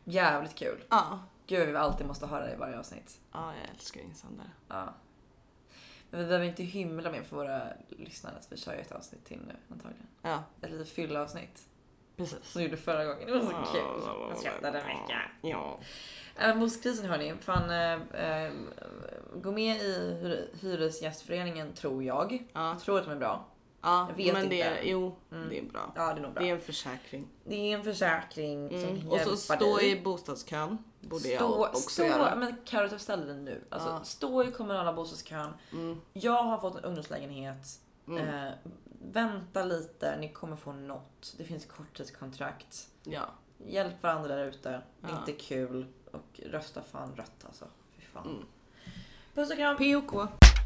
S1: Jävligt kul.
S2: Ja.
S1: Gud vi alltid måste höra det i varje avsnitt.
S2: ja, jag älskar insändare.
S1: Ja. Men vi behöver inte hymla med för våra lyssnare att vi kör ju ett avsnitt till nu antagligen.
S2: Ja,
S1: Ett litet fyllavsnitt.
S2: precis.
S1: Som vi gjorde förra gången. Det var
S2: Ah,
S1: så kul. Jag skrattade mycket.
S2: Ja.
S1: Även bostadskrisen hörni. Fan, eh, eh, gå med i hyre- Hyresgästföreningen tror jag.
S2: Ja.
S1: Jag tror att de är bra.
S2: Ja,
S1: Jag vet
S2: men det är,
S1: inte. Mm.
S2: jo, det är bra.
S1: Ja det är nog bra.
S2: Det är en försäkring.
S1: Det är en försäkring som
S2: Mm.
S1: hjälper
S2: Och så stå
S1: dig.
S2: i bostadskön. Borde jag
S1: Stå,
S2: också
S1: stå,
S2: göra. Ah.
S1: men Carro ta ställ dig nu. Alltså,
S2: Ja.
S1: Stå i kommunala bostadskön.
S2: Mm.
S1: Jag har fått en ungdomslägenhet. Eh, vänta lite, ni kommer få något. Det finns korttidskontrakt.
S2: Ja.
S1: Hjälp varandra där ute.
S2: Ja.
S1: Inte kul. Och rösta fan rött alltså. Fy fan. Puss och kram.
S2: POK.